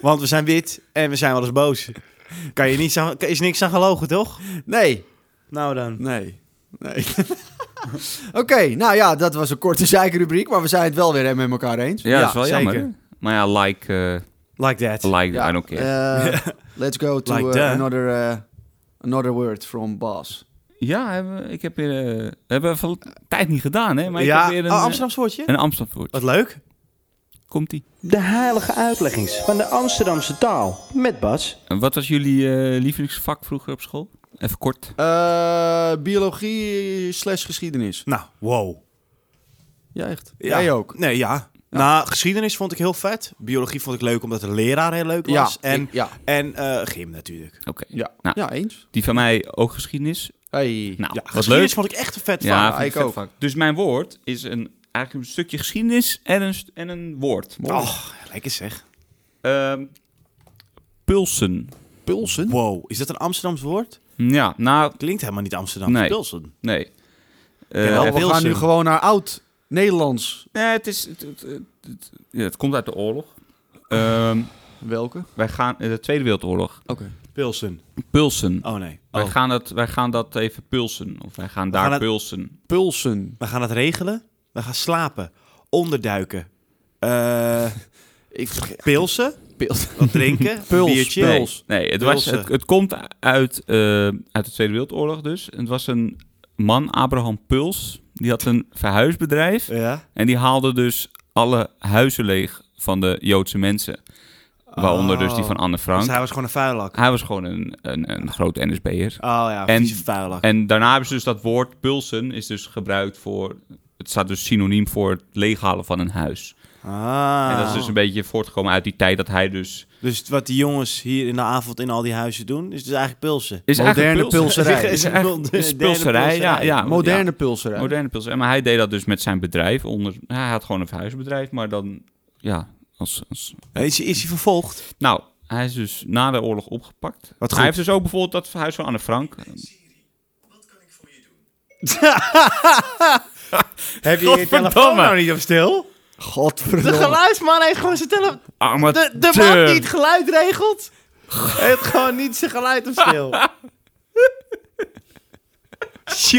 Speaker 3: Want we zijn wit en we zijn wel eens boos. Kan je niet aan, is niks aan gelogen, toch?
Speaker 1: Nee,
Speaker 3: Nou dan.
Speaker 1: nee, nee. Oké, nou ja, dat was een korte zeikrubriek, maar we zijn het wel weer met elkaar eens.
Speaker 2: Ja, dat is wel
Speaker 3: zeker.
Speaker 2: jammer. Maar ja, like, eh,
Speaker 3: Like that.
Speaker 2: like,
Speaker 1: Ja,
Speaker 2: I don't care.
Speaker 1: eh, let's go to
Speaker 3: Like
Speaker 1: eh,
Speaker 3: that.
Speaker 1: another, eh, another word from Bas.
Speaker 2: Ja, hebben- ik heb weer... eh, we hebben van tijd niet gedaan, hè? Maar ik
Speaker 3: ja,
Speaker 2: heb weer een,
Speaker 3: oh,
Speaker 2: eh,
Speaker 3: Amsterdams woordje.
Speaker 2: een Amsterdam woord.
Speaker 3: Wat leuk.
Speaker 2: Komt-ie.
Speaker 5: De heilige uitleggings van de Amsterdamse taal met Bas.
Speaker 2: En Wat was jullie eh, lievelingsvak vroeger op school? Even kort.
Speaker 1: Eh, biologie slash geschiedenis.
Speaker 3: Nou, wow.
Speaker 1: Ja, echt.
Speaker 3: Ja.
Speaker 1: Jij ook.
Speaker 3: Nee, ja. Nou, geschiedenis vond ik heel vet. Biologie vond ik leuk omdat de leraar heel leuk
Speaker 1: Ja,
Speaker 3: was. en
Speaker 1: ik- ja,
Speaker 3: en eh, gym natuurlijk.
Speaker 2: Oké.
Speaker 1: ja.
Speaker 2: Nou.
Speaker 1: ja, eens.
Speaker 2: Die van mij ook geschiedenis.
Speaker 1: Hey.
Speaker 2: Nou,
Speaker 3: Ja,
Speaker 2: wat
Speaker 3: geschiedenis
Speaker 2: leuk.
Speaker 3: vond ik echt een vet
Speaker 2: Ja,
Speaker 3: vak.
Speaker 2: vind
Speaker 1: ik
Speaker 2: vet
Speaker 1: ook.
Speaker 2: vak. Dus mijn woord is een, eigenlijk een stukje geschiedenis en een, st- en een woord.
Speaker 3: Oh, lekker zeg.
Speaker 2: Ehm, pulsen.
Speaker 1: Pulsen?
Speaker 3: Wow, is dat een Amsterdams woord?
Speaker 2: Ja, nou,
Speaker 3: Klinkt helemaal niet Amsterdams.
Speaker 2: Nee.
Speaker 3: Pilsen.
Speaker 2: nee. Eh,
Speaker 3: Ja, wel
Speaker 1: Oh, we gaan
Speaker 3: Pilsen.
Speaker 1: nu gewoon naar oud Nederlands.
Speaker 2: nee, het, is, het, het, het- het- ja, het komt uit de oorlog. Ehm,
Speaker 1: Welke? Oké.
Speaker 2: Wij gaan eh, de Tweede Wereldoorlog
Speaker 3: Pilsen.
Speaker 2: pulsen.
Speaker 3: Oh nee.
Speaker 2: Wij,
Speaker 3: Oh.
Speaker 2: gaan dat, wij gaan dat even pulsen. Of wij gaan daar
Speaker 3: gaan het-
Speaker 2: pulsen.
Speaker 1: Pulsen.
Speaker 3: We gaan het regelen. We gaan slapen. Onderduiken. Eh
Speaker 1: Ik vergeet.
Speaker 3: pilsen.
Speaker 1: Pils.
Speaker 3: Wat drinken.
Speaker 1: Puls,
Speaker 3: Biertje.
Speaker 1: puls.
Speaker 2: Nee, nee het, was,
Speaker 3: Pulsen.
Speaker 2: het, het komt uit, eh, uit de Tweede Wereldoorlog dus. Het was een man, Abraham Puls. Die had een verhuisbedrijf.
Speaker 3: Ja.
Speaker 2: En die haalde dus alle huizen leeg van de Joodse mensen. Waaronder dus die van Anne
Speaker 3: Dus
Speaker 2: Frank.
Speaker 3: hij was gewoon een vuilak.
Speaker 2: Hij was gewoon een, een, een groot NSB'er.
Speaker 3: Oh ja,
Speaker 2: En-
Speaker 3: en, vieze vuilak.
Speaker 2: En daarna hebben ze dus dat woord pulsen is dus gebruikt voor... Het staat dus synoniem voor het leeghalen van een huis.
Speaker 3: ah.
Speaker 2: En dat is dus een beetje voortgekomen uit die tijd dat hij dus...
Speaker 3: Dus wat die jongens hier in de avond in al die huizen doen, is dus eigenlijk pilsen.
Speaker 2: Is
Speaker 1: Moderne
Speaker 2: eigenlijk pulsen.
Speaker 1: pulserij.
Speaker 2: Is eigenlijk- is
Speaker 3: Moderne
Speaker 2: pulserij, ja.
Speaker 3: pulserij.
Speaker 2: ja
Speaker 1: Moderne
Speaker 2: ja,
Speaker 1: pulserij.
Speaker 2: moderne pulserij. Maar hij deed dat dus met zijn bedrijf. Onder, hij had gewoon een verhuisbedrijf, maar dan... Ja, als, als
Speaker 3: Is, is hij vervolgd?
Speaker 2: Nou, hij is dus na de oorlog opgepakt.
Speaker 3: Wat goed.
Speaker 2: Hij heeft dus ook bijvoorbeeld dat huis van Anne Frank.
Speaker 3: Heb je je
Speaker 2: Godverdomme.
Speaker 3: telefoon nou niet op stil? De
Speaker 1: Godverdomme.
Speaker 3: geluidsman heeft gewoon zijn telefoon...
Speaker 2: Arme
Speaker 3: De, de man die het geluid regelt, heeft gewoon niet zijn geluid op stil.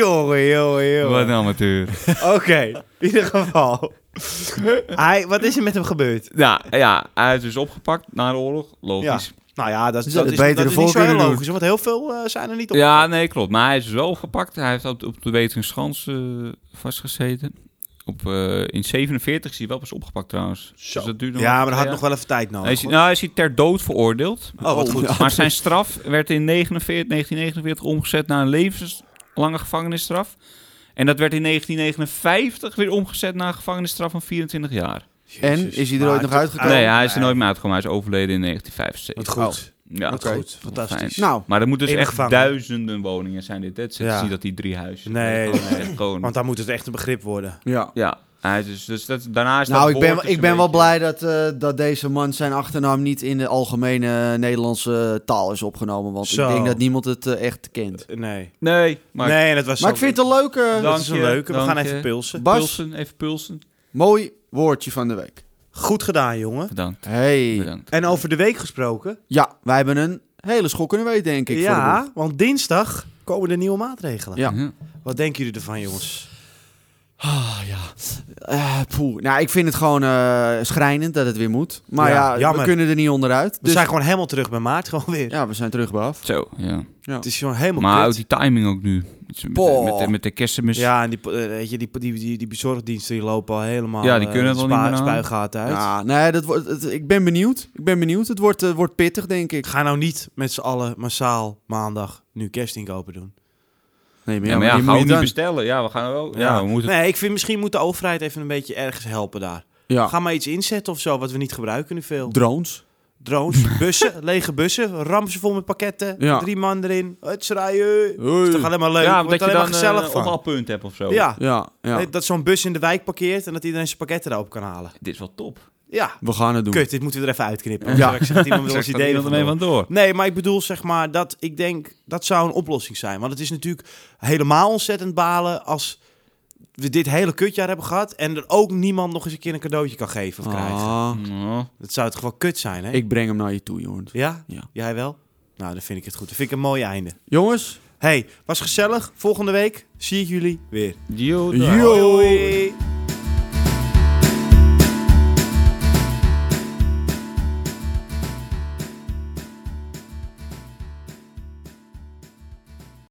Speaker 3: Jongen, jongen,
Speaker 2: Wat een
Speaker 3: jongen.
Speaker 2: amateur.
Speaker 3: Oké, in ieder geval. Hij, wat is er met hem gebeurd?
Speaker 2: ja, ja, hij is dus opgepakt na de oorlog. Logisch.
Speaker 3: Nou ja, dat, is-
Speaker 1: Ze
Speaker 3: dat,
Speaker 1: hadden het
Speaker 3: is, dat
Speaker 1: beter
Speaker 3: is niet zo
Speaker 1: ervoor
Speaker 3: heel
Speaker 1: kunnen doen.
Speaker 3: logisch, want heel veel eh, zijn er niet op.
Speaker 2: Ja, nee, klopt. Maar hij is dus wel opgepakt. Hij heeft op, op de Wetenschans eh vastgezeten. Op, eh, in 47 is hij wel pas opgepakt trouwens. Dus dat duurde
Speaker 3: Ja, maar dat had
Speaker 2: ja.
Speaker 3: nog wel even tijd nodig.
Speaker 2: Hij is, nou, hij is hier ter dood veroordeeld.
Speaker 3: Oh, wat goed.
Speaker 2: Maar zijn straf werd in 49, 1949 omgezet naar een levenslange gevangenisstraf. En dat werd in 1959 weer omgezet naar een gevangenisstraf van 24 jaar.
Speaker 1: En is hij er ooit nog uitgekomen?
Speaker 2: nee, hij is er nooit meer uitgekomen. Hij is overleden in 1975.
Speaker 3: Ah, Wat goed.
Speaker 2: Ja,
Speaker 3: Wat
Speaker 1: Oké.
Speaker 3: goed. Fantastisch.
Speaker 2: Fijn.
Speaker 1: Nou,
Speaker 2: Maar er moeten dus
Speaker 3: Eeuwig
Speaker 2: echt
Speaker 3: gevangen.
Speaker 2: duizenden woningen zijn dit. hè? Het is
Speaker 3: Ja.
Speaker 2: niet dat die drie huizen...
Speaker 3: Nee,
Speaker 2: Gewoon- Gewoon,
Speaker 3: Want daar moet het echt een begrip worden.
Speaker 1: ja.
Speaker 2: ja, hij is dus, dus dat, daarna is
Speaker 1: Nou,
Speaker 2: dat
Speaker 1: ik ben,
Speaker 2: woord dus
Speaker 1: ik
Speaker 2: een
Speaker 1: ben wel
Speaker 2: beetje-
Speaker 1: blij dat, eh, dat deze man zijn achternaam niet in de algemene Nederlandse taal is opgenomen. Want
Speaker 3: Zo.
Speaker 1: ik denk dat niemand het eh, echt kent.
Speaker 3: Nee.
Speaker 2: Nee, maar
Speaker 3: nee, dat was
Speaker 1: Maar
Speaker 3: zo- Nou.
Speaker 1: ik vind het een leuke,
Speaker 2: Dan-
Speaker 3: Dat is een
Speaker 2: Dank je,
Speaker 3: leuke. We gaan
Speaker 2: dank
Speaker 3: even
Speaker 2: je.
Speaker 3: pilsen.
Speaker 1: Bas?
Speaker 2: pulsen, even pulsen.
Speaker 1: mooi woordje van de week.
Speaker 3: Goed gedaan, jongen.
Speaker 2: Bedankt,
Speaker 1: Hey.
Speaker 2: bedankt.
Speaker 3: En over de week gesproken.
Speaker 1: Ja, wij hebben een hele schokkende week, denk ik. voor de
Speaker 3: ja,
Speaker 1: boeg.
Speaker 3: want dinsdag komen er nieuwe maatregelen.
Speaker 1: Ja.
Speaker 2: Mhm.
Speaker 3: Wat denken jullie ervan, jongens?
Speaker 1: Ah, ja. Eh, poeh. Nou, ik vind het gewoon eh, schrijnend dat het weer moet. Maar
Speaker 3: Ja,
Speaker 1: ja, we
Speaker 3: jammer.
Speaker 1: kunnen er niet onderuit.
Speaker 3: We
Speaker 1: dus-
Speaker 3: zijn gewoon helemaal terug bij maart, gewoon weer.
Speaker 1: Ja, we zijn terug bij af.
Speaker 2: Zo, ja.
Speaker 1: Ja.
Speaker 3: Het is gewoon helemaal
Speaker 2: Maar
Speaker 3: kut.
Speaker 2: ook die timing ook nu. Met,
Speaker 1: Boah.
Speaker 2: met, met, met de kerstmis.
Speaker 3: Ja, en die, eh, weet je, die, die, die, die bezorgdiensten die lopen al helemaal
Speaker 2: Ja, die
Speaker 3: eh,
Speaker 2: kunnen het wel
Speaker 3: spa-
Speaker 2: niet meer aan.
Speaker 3: spuigaten uit.
Speaker 1: Ja, nee, dat wordt, het- ik ben benieuwd. Ik ben benieuwd. Het wordt, eh, wordt pittig, denk ik.
Speaker 3: Ga nou niet met z'n allen massaal maandag nu kerstinkopen doen.
Speaker 1: Nee,
Speaker 2: Ja, maar ja,
Speaker 1: die moet
Speaker 2: gaan we
Speaker 1: je
Speaker 2: niet
Speaker 1: dan-
Speaker 2: bestellen. Ja, we gaan wel. Ja, we moeten.
Speaker 3: Nee, ik vind misschien moet de overheid even een beetje ergens helpen daar.
Speaker 1: Ja.
Speaker 3: Ga maar iets inzetten of zo, wat we niet gebruiken nu veel.
Speaker 1: Drones.
Speaker 3: Drones, bussen, lege bussen, rampen ze vol met pakketten,
Speaker 1: Ja.
Speaker 3: drie man erin, het schreeuwen.
Speaker 1: Hoi.
Speaker 3: is toch alleen maar leuk,
Speaker 2: ja,
Speaker 3: wordt
Speaker 2: omdat je
Speaker 3: alleen
Speaker 2: dan
Speaker 3: maar gezellig
Speaker 2: eh,
Speaker 3: van.
Speaker 2: op al punt hebt of zo.
Speaker 3: Ja,
Speaker 1: Ja, ja.
Speaker 3: Nee, dat zo'n bus in de wijk parkeert en dat iedereen zijn pakketten daarop kan halen.
Speaker 2: Dit is wel top.
Speaker 3: Ja,
Speaker 1: We gaan het doen.
Speaker 3: kut, dit moeten we er even uitknippen.
Speaker 1: Ja.
Speaker 3: Ja. Ik zeg, iemand wil
Speaker 2: Straks
Speaker 3: ons
Speaker 2: gaat
Speaker 3: idee
Speaker 2: iemand ermee
Speaker 3: ervan
Speaker 2: vandoor.
Speaker 3: Nee, maar ik bedoel zeg maar dat ik denk dat zou een oplossing zijn. Want het is natuurlijk helemaal ontzettend balen als we dit hele kutjaar hebben gehad en er ook niemand nog eens een keer een cadeautje kan geven of krijgt.
Speaker 1: Ah,
Speaker 2: Ja.
Speaker 3: Dat zou toch wel kut zijn, hè?
Speaker 1: ik breng hem naar je toe, jongens.
Speaker 3: Ja?
Speaker 1: Ja.
Speaker 3: Jij wel? Nou, dan vind ik het goed. Dan vind ik een mooi einde.
Speaker 1: Jongens,
Speaker 3: Hey, was gezellig. Volgende week zie ik jullie weer.
Speaker 2: Yo,
Speaker 1: Yo.
Speaker 3: Hoi.